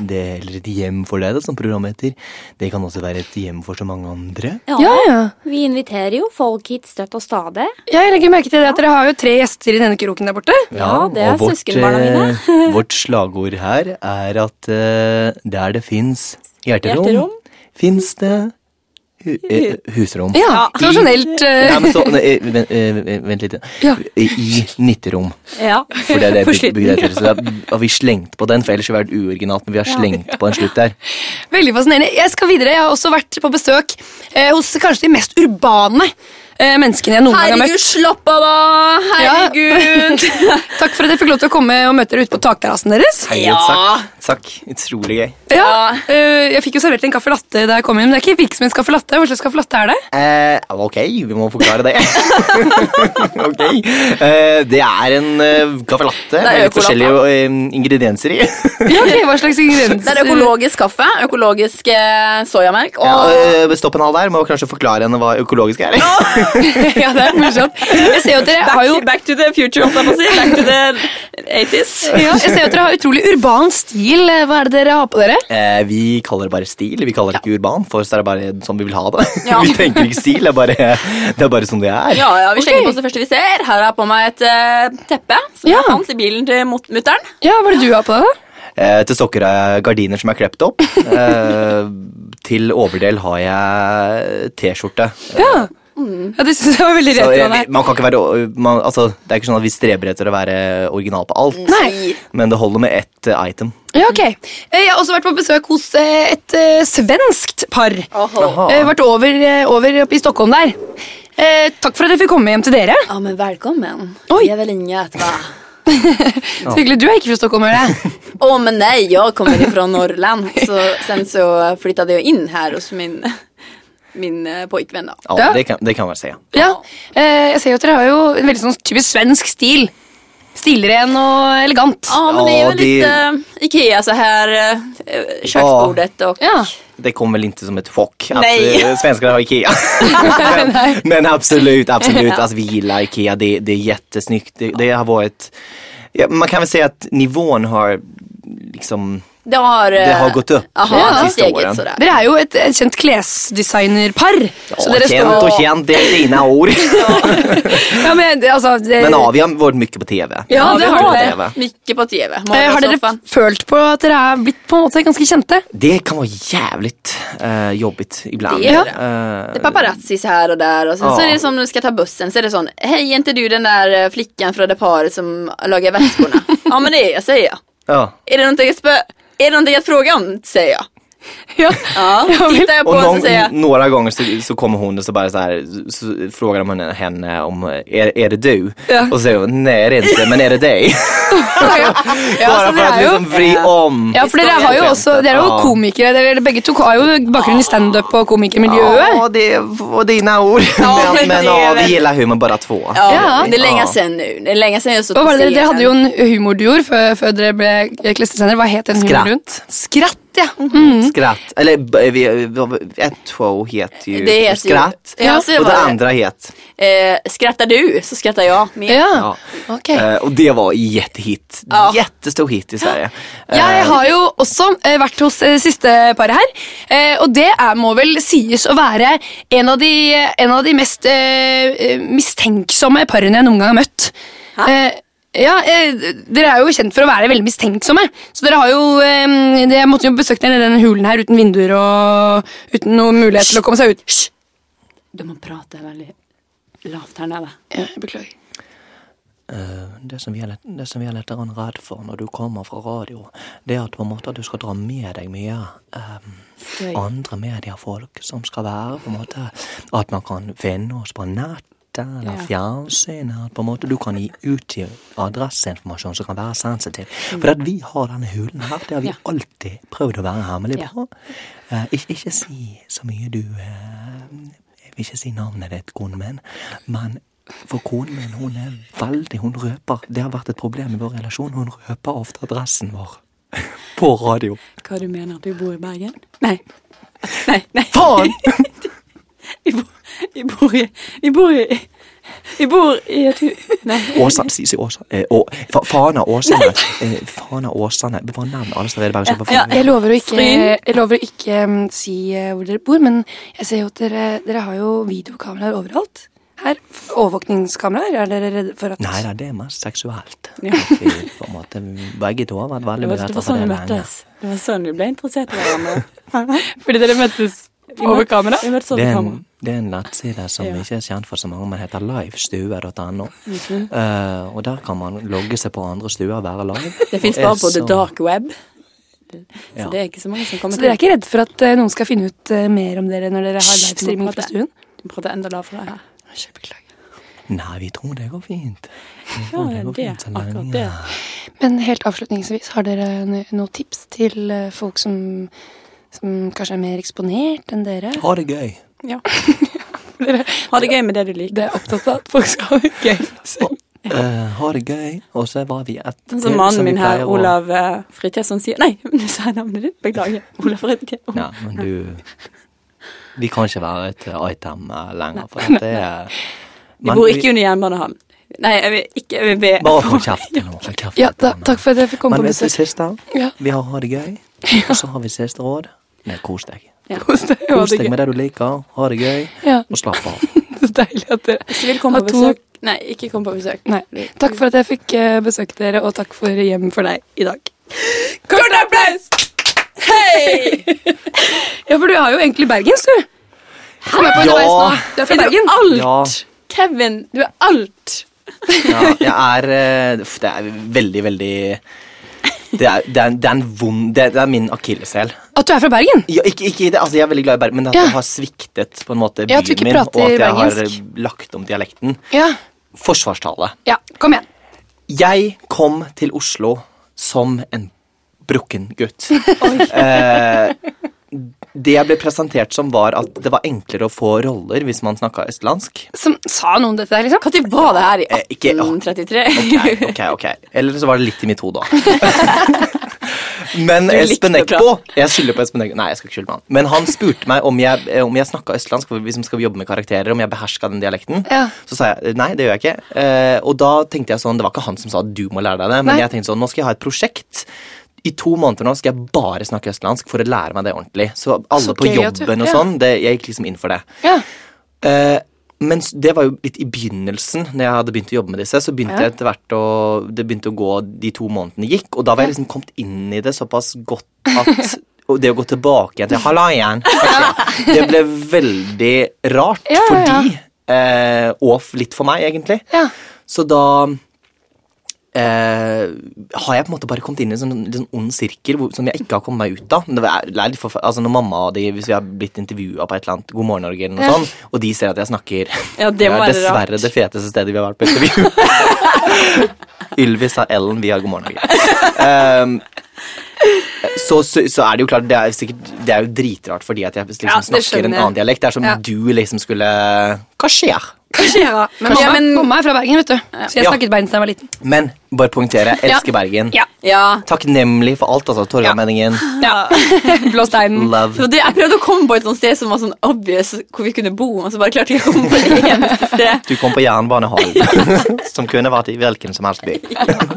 Speaker 3: det, eller et hjem for deg, da, som programmet heter, det kan også være et hjem for så mange andre.
Speaker 1: Ja, ja.
Speaker 4: Vi inviterer jo folk hit støtt og stadig.
Speaker 1: Ja, jeg legger merke til det at Dere har jo tre gjester i denne kroken der borte.
Speaker 4: Ja, det er
Speaker 3: og vårt,
Speaker 4: søskenbarna mine.
Speaker 3: eh, vårt slagord her er at eh, der det fins hjerterom,
Speaker 4: Hjerterom.
Speaker 3: fins det hu eh, husrom.
Speaker 1: Ja, Tradisjonelt. eh,
Speaker 3: Nei, men så, nei, eh, vent, eh, vent litt.
Speaker 1: Ja.
Speaker 3: I nitterom.
Speaker 4: Ja.
Speaker 3: For det er det
Speaker 1: For
Speaker 3: bygget
Speaker 1: slutten,
Speaker 3: bygget heter. Så da har vi slengt på den, for ellers ville det vært uoriginalt. Men vi har slengt på en slutt der.
Speaker 1: Veldig fascinerende. Jeg skal videre. Jeg har også vært på besøk eh, hos kanskje de mest urbane eh, menneskene jeg noen gang har møtt.
Speaker 2: Herregud, slapp av, da! Herregud!
Speaker 1: Takk for at jeg fikk lov til å komme og møte dere ute på takterrassen deres.
Speaker 3: Herregud,
Speaker 2: Ja.
Speaker 3: takk. Takk. Utrolig gøy.
Speaker 1: Ja, eh, jeg fikk jo servert en kaffe latte da jeg kom inn. men Det er ikke hvilken som helst kaffe latte. Hva slags kaffe latte er det?
Speaker 3: Eh, ok, vi må forklare det. ok. Eh, det er en eh, caffè latte med litt
Speaker 2: økolatte.
Speaker 3: forskjellige eh, ingredienser i.
Speaker 1: Ja, ok, hva slags
Speaker 2: Det er økologisk kaffe, økologisk eh, soyamelk og
Speaker 3: ja, eh, stopp en hal der. Må kanskje forklare henne hva økologisk er.
Speaker 1: ja, det er morsomt. Jeg ser jo at dere har jo
Speaker 2: back to the future, holdt jeg på å si. Back to the 80s.
Speaker 1: ja, jeg ser jo at dere har utrolig urban stil. Hva er det dere har på dere?
Speaker 3: Eh, vi kaller det bare stil, vi kaller det ikke urban, for så er det bare sånn vi vil ha det.
Speaker 2: Ja.
Speaker 3: vi tenker ikke stil, det er bare, det er bare sånn det er.
Speaker 2: Ja, ja, vi slenger på oss det første vi ser. Her har jeg på meg et eh, teppe som
Speaker 1: Ja.
Speaker 2: jeg fant i bilen til mut- mutter'n.
Speaker 1: Ja, Hva er det du har på deg, da?
Speaker 3: Eh, til sokker har jeg gardiner som er klept opp. Eh, til overdel har jeg T-skjorte.
Speaker 1: Ja. Mm. ja, Det synes jeg var veldig
Speaker 3: Så
Speaker 1: rett.
Speaker 3: jeg-
Speaker 1: av deg.
Speaker 3: man kan ikke være man, altså, Det er ikke sånn at vi streber etter å være original på alt,
Speaker 1: Nei.
Speaker 3: men det holder med ett eh, item.
Speaker 1: Ja, ok. Eh, Jeg har også vært på besøk hos eh, et eh, svenskt par.
Speaker 3: Aha.
Speaker 1: Eh, Vært over, eh, over oppe i Stockholm der. Eh, Takk for at jeg fikk komme hjem til dere.
Speaker 2: Ja, men velkommen.
Speaker 1: Oi.
Speaker 2: Jeg vil ringe etterpå.
Speaker 1: Så hyggelig, Du er ikke fra Stockholm, hører jeg.
Speaker 2: Å, men nei, jeg kommer ifra Norrland. Så sen så flyttade jag in här hos min, min eh, pojkvän då.
Speaker 3: Ja,
Speaker 1: Ja.
Speaker 3: Det, kan, det kan man si. Ja.
Speaker 1: Ja. Eh, Jeg ser jo at dere har jo en veldig sånn typisk svensk stil. Stilren og elegant.
Speaker 2: Ja, men det är
Speaker 3: Ja,
Speaker 2: väl
Speaker 3: det-
Speaker 2: lite eh, Ikea så här, eh, köksbordet och...
Speaker 1: Ja.
Speaker 3: Det kom väl inte som ett chock att
Speaker 2: Nej.
Speaker 3: eh, svenskar har Ikea. men, men absolut, absolut. Alltså, vi gillar Ikea, det, det är jättesnyggt. Det, det har varit, ja, man kan väl säga att nivån har liksom,
Speaker 2: Det har, eh,
Speaker 3: Det har gått upp
Speaker 2: Aha,
Speaker 3: de
Speaker 2: ja,
Speaker 3: siste
Speaker 2: steget
Speaker 3: åren.
Speaker 2: sådär.
Speaker 1: Dere er jo et et kjent klesdesignerpar. Så
Speaker 3: ja,
Speaker 1: dere
Speaker 3: känt
Speaker 1: står
Speaker 3: och känt, det är dina ord.
Speaker 1: ja, men, det- altså, det,
Speaker 3: men ja, vi har varit mycket på TV.
Speaker 1: Ja, det
Speaker 3: Vi
Speaker 1: har
Speaker 3: på
Speaker 1: det.
Speaker 3: TV.
Speaker 2: Mycket på TV.
Speaker 1: eh, Har dere
Speaker 2: morgonsoffan.
Speaker 1: følt på at dere er blitt på en måte ganske kjente?
Speaker 3: Det kan vara jävligt eh, jobbigt ibland.
Speaker 2: Det är det.
Speaker 3: Eh,
Speaker 2: Det är paparazzis här och där och sen
Speaker 3: Ja.
Speaker 2: så är det som när du ska ta bussen så är det sån Hej, är inte du den där eh, flickan från det paret som lagar väskorna? ja, men det är jag, säger jag.
Speaker 3: ja.
Speaker 2: Är det någonting att, spö- är det någonting att fråga om? Säger jag.
Speaker 1: Ja. Ja, vel.
Speaker 2: Tittar jag på
Speaker 3: Och
Speaker 2: honom så
Speaker 3: någon,
Speaker 2: säger jag,
Speaker 3: några gånger så, så kommer hon och så bara så här, så, så frågar man henne om, är, är det du?
Speaker 1: Ja.
Speaker 3: Och så säger hon, nej det är inte men är det dig?
Speaker 1: Ja,
Speaker 3: Bara
Speaker 1: så
Speaker 3: för
Speaker 1: det
Speaker 3: att
Speaker 1: er jo
Speaker 3: liksom vri om.
Speaker 1: ja, for dere har jo også Dere er jo
Speaker 3: Ja.
Speaker 1: komikere. Dere, begge to har jo bakgrunn i standup og komikermiljøet.
Speaker 3: Ja, det var dina ord.
Speaker 2: Ja,
Speaker 3: men men
Speaker 2: det är
Speaker 3: ja,
Speaker 2: väl-
Speaker 3: vi gillar humor bara två.
Speaker 2: ja,
Speaker 1: Ja.
Speaker 2: det är länge sedan nu. Det är länge sedan jag stått
Speaker 1: Hva
Speaker 2: på
Speaker 1: var det dere,
Speaker 2: scenen.
Speaker 1: dere hadde jo en humorduoer før, før dere ble klistresender. Hva het den
Speaker 3: Skratt. Mhm.
Speaker 1: humorduoen? Skratt, ja. Mm.
Speaker 3: Skratt. Eller b- vi, vi- ett show heter ju
Speaker 2: Det heter ju-
Speaker 3: Skratt.
Speaker 2: Ja, så det
Speaker 3: och det
Speaker 2: var det.
Speaker 3: andra heter.
Speaker 2: Eh, skrattar du så skrattar jag med.
Speaker 1: Ja,
Speaker 3: Ja.
Speaker 1: ok.
Speaker 3: Eh, och det var jättehit.
Speaker 2: Ja.
Speaker 3: Jättestor hit i Sverige.
Speaker 1: Ja,
Speaker 3: Eh,
Speaker 1: jeg har jo også eh, vært hos eh, siste paret her, eh, og det er, må vel sies å være en av de, en av de mest eh, eh, mistenksomme parene jeg noen gang har møtt. Eh, ja, eh, Dere er jo kjent for å være veldig mistenksomme. Så dere har jo eh, det- Jeg måtte jo besøke dere i denne hulen her uten vinduer og uten noen mulighet til å komme seg ut. Hysj!
Speaker 2: De har pratat väldigt lavt här nere.
Speaker 1: Ja, jeg beklager.
Speaker 3: Eh, Det som, gjelder, det som gjelder etter en redd for når du kommer fra radio, det er at på en måte at du skal dra med deg mye eh, andre mediefolk som skal være på en måte At man kan finne oss på nettet eller
Speaker 2: Ja.
Speaker 3: fjernsynet. At på en måte du kan gi utgi adresseinformasjon som kan være sensitiv. For at vi har denne hulen her, det har vi
Speaker 2: Ja.
Speaker 3: alltid prøvd å være hemmelig
Speaker 2: Ja.
Speaker 3: på. Eh, ikke, ikke si så mye du eh, jeg vil ikke si navnet ditt, konen min, men for konen min, hun er veldig Hun røper. Det har vært et problem i vår relasjon. Hun røper ofte adressen vår på radio.
Speaker 2: Hva du mener, du bor i Bergen? Nei. Nei, nei.
Speaker 3: Faen!
Speaker 2: Vi bor, vi bor i Vi bor i Vi bor i et hus Nei.
Speaker 3: Åsa, si, si Åsa. Eh, å, fa, Fana Åsane. Eh, Fana Åsane. Bare nevn alle steder Bergen kjøper
Speaker 2: Ja,
Speaker 1: Jeg
Speaker 3: Fana.
Speaker 1: lover å ikke,
Speaker 2: Fryn.
Speaker 1: jeg lover å ikke mm, si eh, hvor dere bor, men jeg ser jo at dere, dere har jo videokameraer overalt. Her, f- Overvåkningskameraer, er dere redde for at
Speaker 3: Nei da, det er mest seksuelt.
Speaker 2: Ja.
Speaker 3: At Vi, på en måte, begge to har vært
Speaker 2: Det
Speaker 3: veldig
Speaker 2: var, det var
Speaker 3: berettet for
Speaker 2: sånn
Speaker 3: det
Speaker 2: vi
Speaker 3: lenge.
Speaker 2: møttes. Det var sånn vi ble interessert i hverandre.
Speaker 1: Fordi dere møttes
Speaker 2: Over kamera? Vi møttes over
Speaker 3: Det er
Speaker 2: kamera.
Speaker 3: en, det er en nettside som
Speaker 2: Ja.
Speaker 3: ikke er kjent for så mange, men heter livestue.no.
Speaker 2: Mhm.
Speaker 3: Eh, og der kan man logge seg på andre stuer og være live.
Speaker 2: Det fins
Speaker 3: Og
Speaker 2: bare
Speaker 3: er
Speaker 2: på the
Speaker 3: så-
Speaker 2: dark web. Så
Speaker 3: Ja.
Speaker 2: det er ikke så mange som kommer
Speaker 1: Så dere er ikke redde for at eh, noen skal finne ut eh, mer om dere når dere har
Speaker 2: Hysj, du
Speaker 1: livestreaming
Speaker 2: må
Speaker 1: fra
Speaker 2: prate.
Speaker 1: stuen?
Speaker 2: Du prater enda lavere her.
Speaker 3: Nei, vi tror det går fint. Vi
Speaker 2: Ja,
Speaker 3: tror
Speaker 2: det
Speaker 3: går
Speaker 2: er det.
Speaker 3: fint så lenge.
Speaker 2: Akkurat det.
Speaker 1: Men helt avslutningsvis, har dere n- noen tips til eh, folk som, som kanskje er mer eksponert enn dere?
Speaker 3: Ha det gøy.
Speaker 2: Ja. Ha det gøy med det du liker.
Speaker 1: Det er opptatt av at folk skal ha det gøy.
Speaker 3: Eh, ha det gøy. Og så var vi et
Speaker 2: Sånn som mannen
Speaker 3: vi
Speaker 2: min her,
Speaker 3: pleier å-
Speaker 2: Olav eh, Fritjøsson, sier Nei, nå sa jeg navnet ditt. Beklager. Olav Fritjøsson.
Speaker 3: Ja, men du Vi kan ikke være et eh, item eh, lenger, for at det er
Speaker 2: Vi bor ikke under jernbanehallen. Nei, jeg vil ikke jeg vil
Speaker 3: Bare hold kjeft nå. Hold kjeft.
Speaker 1: Ja, da, takk for at jeg fikk komme
Speaker 3: Men
Speaker 1: på
Speaker 3: vet du,
Speaker 1: besøk.
Speaker 3: søster,
Speaker 1: Ja.
Speaker 3: vi har ha det gøy, og så har vi siste råd. Nei, kos deg.
Speaker 1: Kos deg. Ha
Speaker 3: Kos
Speaker 1: det
Speaker 3: deg
Speaker 1: gøy.
Speaker 3: med det du liker, ha det gøy,
Speaker 1: Ja.
Speaker 3: og slapp av.
Speaker 1: Så deilig at dere
Speaker 2: Hvis du vil komme
Speaker 1: Ha
Speaker 2: på
Speaker 1: to-
Speaker 2: besøk Nei, ikke kom på besøk.
Speaker 1: Nei. Takk for at jeg fikk eh, besøke dere, og takk for hjem for deg i dag. Kort applaus!
Speaker 2: Hei!
Speaker 1: Ja, for du har jo egentlig bergens, du. Kom jeg på
Speaker 3: Ja.
Speaker 1: underveis nå. Du er fra
Speaker 2: Er du
Speaker 1: Bergen.
Speaker 2: alt?
Speaker 3: Ja,
Speaker 2: Kevin, du er alt.
Speaker 3: ja jeg er eh, uff, Det er veldig, veldig det er, det, er, det er en vond Det, det er min akilleshæl.
Speaker 1: At du er fra Bergen?
Speaker 3: Ja, ikke, ikke i det, altså jeg er veldig glad i Bergen, men at
Speaker 1: Ja.
Speaker 3: jeg har sviktet på en måte
Speaker 1: Ja, at du
Speaker 3: byen
Speaker 1: ikke
Speaker 3: min, og
Speaker 1: prater
Speaker 3: at jeg har
Speaker 1: bergensk.
Speaker 3: eh, lagt om dialekten.
Speaker 1: Ja.
Speaker 3: Forsvarstale.
Speaker 1: ja. Kom igjen.
Speaker 3: Jeg kom til Oslo som en brukken gutt. eh, det jeg ble presentert som, var at det var enklere å få roller hvis man snakka østlandsk.
Speaker 1: Som, sa noen dette der, liksom?
Speaker 2: Når var det her i
Speaker 3: Eh, ikke-
Speaker 2: 1833?
Speaker 3: Ok, ok, ok. Eller så var det litt i mitt hode òg. Men
Speaker 2: likte
Speaker 3: Espen
Speaker 2: det
Speaker 3: Eckbo Jeg skylder på Espen Eckbo. Nei, jeg skal ikke skylde på han. Men han spurte meg om jeg, eh, om jeg snakka østlandsk, for vi som skal jobbe med karakterer, om jeg beherska den dialekten.
Speaker 1: Ja.
Speaker 3: Så sa jeg nei, det gjør jeg ikke. Eh, og da tenkte jeg sånn, det var ikke han som sa du må lære deg det, men
Speaker 1: Nei.
Speaker 3: jeg tenkte sånn, nå skal jeg ha et prosjekt. I to måneder nå skal jeg bare snakke østlandsk for å lære meg det ordentlig. Så alle
Speaker 1: Så
Speaker 3: på
Speaker 1: gøy at du-
Speaker 3: jobben og
Speaker 1: ja.
Speaker 3: sånn, det, jeg gikk liksom inn for det.
Speaker 1: Ja.
Speaker 3: Eh, men s- det var jo litt i begynnelsen, når jeg hadde begynt å jobbe med disse. Så begynte jeg etter hvert å, det begynte å gå de to månedene gikk, og da var jeg liksom kommet inn i det såpass godt at og det å gå tilbake igjen til Halla igjen! ok, Det ble veldig rart
Speaker 1: Ja,
Speaker 3: for
Speaker 1: ja, ja.
Speaker 3: de, eh, og f- litt for meg, egentlig.
Speaker 1: Ja.
Speaker 3: Så da eh, har jeg på en måte bare kommet inn i en sånn, litt sånn ond sirkel hvor, som jeg ikke har kommet meg ut av. Men Det er, det er litt forfer- altså Når mamma og de, hvis vi har blitt intervjua på et eller annet God morgen Norge, eller noe sånt, og de ser at jeg snakker
Speaker 2: Ja, det må
Speaker 3: er
Speaker 2: være rart.
Speaker 3: dessverre det feteste stedet vi har vært på intervju. Ylvis sa Ellen via God morgen Norge. Ehm, så, så, så er det jo klart Det er, sikkert, det er jo dritrart fordi at jeg liksom
Speaker 1: Ja, det
Speaker 3: snakker en
Speaker 1: skjønner jeg.
Speaker 3: annen dialekt. Det er som
Speaker 1: Ja.
Speaker 3: du liksom skulle Hva skjer?
Speaker 1: Kanskje jeg, da. Men
Speaker 2: Kanskje-
Speaker 1: mamma,
Speaker 2: men-
Speaker 1: mamma er fra Bergen, vet du. Så jeg
Speaker 3: Ja. Mm.
Speaker 1: snakket bergensk da jeg var liten.
Speaker 3: Men bare poengtere. Jeg elsker Bergen.
Speaker 1: Ja.
Speaker 2: Ja.
Speaker 3: Takknemlig for alt, altså. Torgallmenningen.
Speaker 1: ja. Blå steinen.
Speaker 2: Så
Speaker 3: Love.
Speaker 2: det, jeg prøvde å komme på et sånt sted som var sånn obvious hvor vi kunne bo, og så bare klarte jeg ikke å komme på det eneste sted.
Speaker 3: Du kom på jernbanehallen, som kunne vært i hvilken som helst by.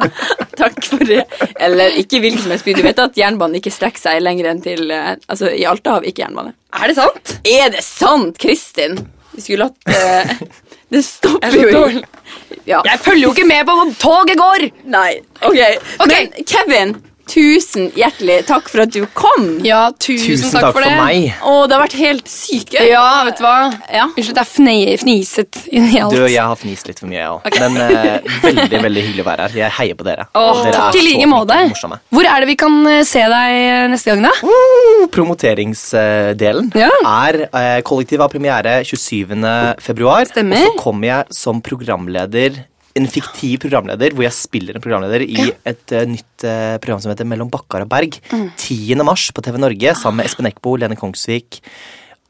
Speaker 2: Takk for det. Eller ikke hvilken som helst by. Du vet at jernbanen ikke strekker seg lenger enn til eh, Altså, i Alta har vi ikke jernbane.
Speaker 1: Er det sant?
Speaker 2: Er det sant, Kristin? Vi skulle hatt eh, Det stopper
Speaker 1: Jeg er så
Speaker 2: jo
Speaker 1: dårlig.
Speaker 2: ikke. Ja.
Speaker 1: Jeg følger jo ikke med på hvor toget går!
Speaker 2: Nei. ok.
Speaker 1: Ok.
Speaker 2: Men Kevin, tusen hjertelig takk for at du kom.
Speaker 1: Ja, tusen,
Speaker 3: Tusen takk for
Speaker 1: det.
Speaker 3: meg.
Speaker 2: Å, det har vært helt sykt gøy.
Speaker 1: Ja, vet du hva?
Speaker 2: Ja.
Speaker 1: Unnskyld, det er fne fniset inni alt.
Speaker 3: Du, jeg har fnist litt for mye, jeg òg. Men eh, veldig veldig hyggelig å være her. Jeg heier på dere.
Speaker 1: Åh,
Speaker 3: dere
Speaker 1: takk i like
Speaker 3: så
Speaker 1: måte.
Speaker 3: flinke og morsomme.
Speaker 1: Hvor er det vi kan eh, se deg eh, neste gang, da?
Speaker 3: Uh, Promoteringsdelen
Speaker 1: Ja.
Speaker 3: er eh, kollektiv av premiere 27. februar.
Speaker 1: Stemmer.
Speaker 3: Og så kommer jeg som programleder en fiktiv programleder hvor jeg spiller en programleder i et eh, nytt eh, program som heter Mellom bakkar og berg. 10. mars på TV Norge sammen med Espen Eckbo, Lene Kongsvik,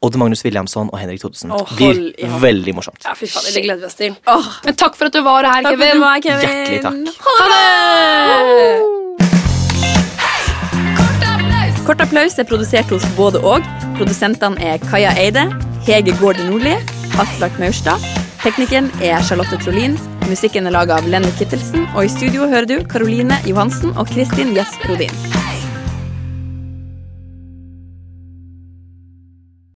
Speaker 3: Odd Magnus Williamson og Henrik Thodesen.
Speaker 2: Å,
Speaker 3: Det Blir
Speaker 2: hold i hånd.
Speaker 3: veldig morsomt.
Speaker 1: Ja, fy faen, det gleder vi oss til.
Speaker 2: Åh,
Speaker 1: Men takk for at du var her,
Speaker 2: takk for at du
Speaker 1: Kevin.
Speaker 2: var her, Kevin.
Speaker 3: Hjertelig takk.
Speaker 2: Ha det! Kort applaus er produsert hos både og. Produsentene er Kaja Eide, Hege Gården Nordli, Aslak Maurstad. Teknikeren er Charlotte Trolin. Musikken er laga av Lenny Kittelsen. Og i studio hører du Karoline Johansen og Kristin Gjess Rodin.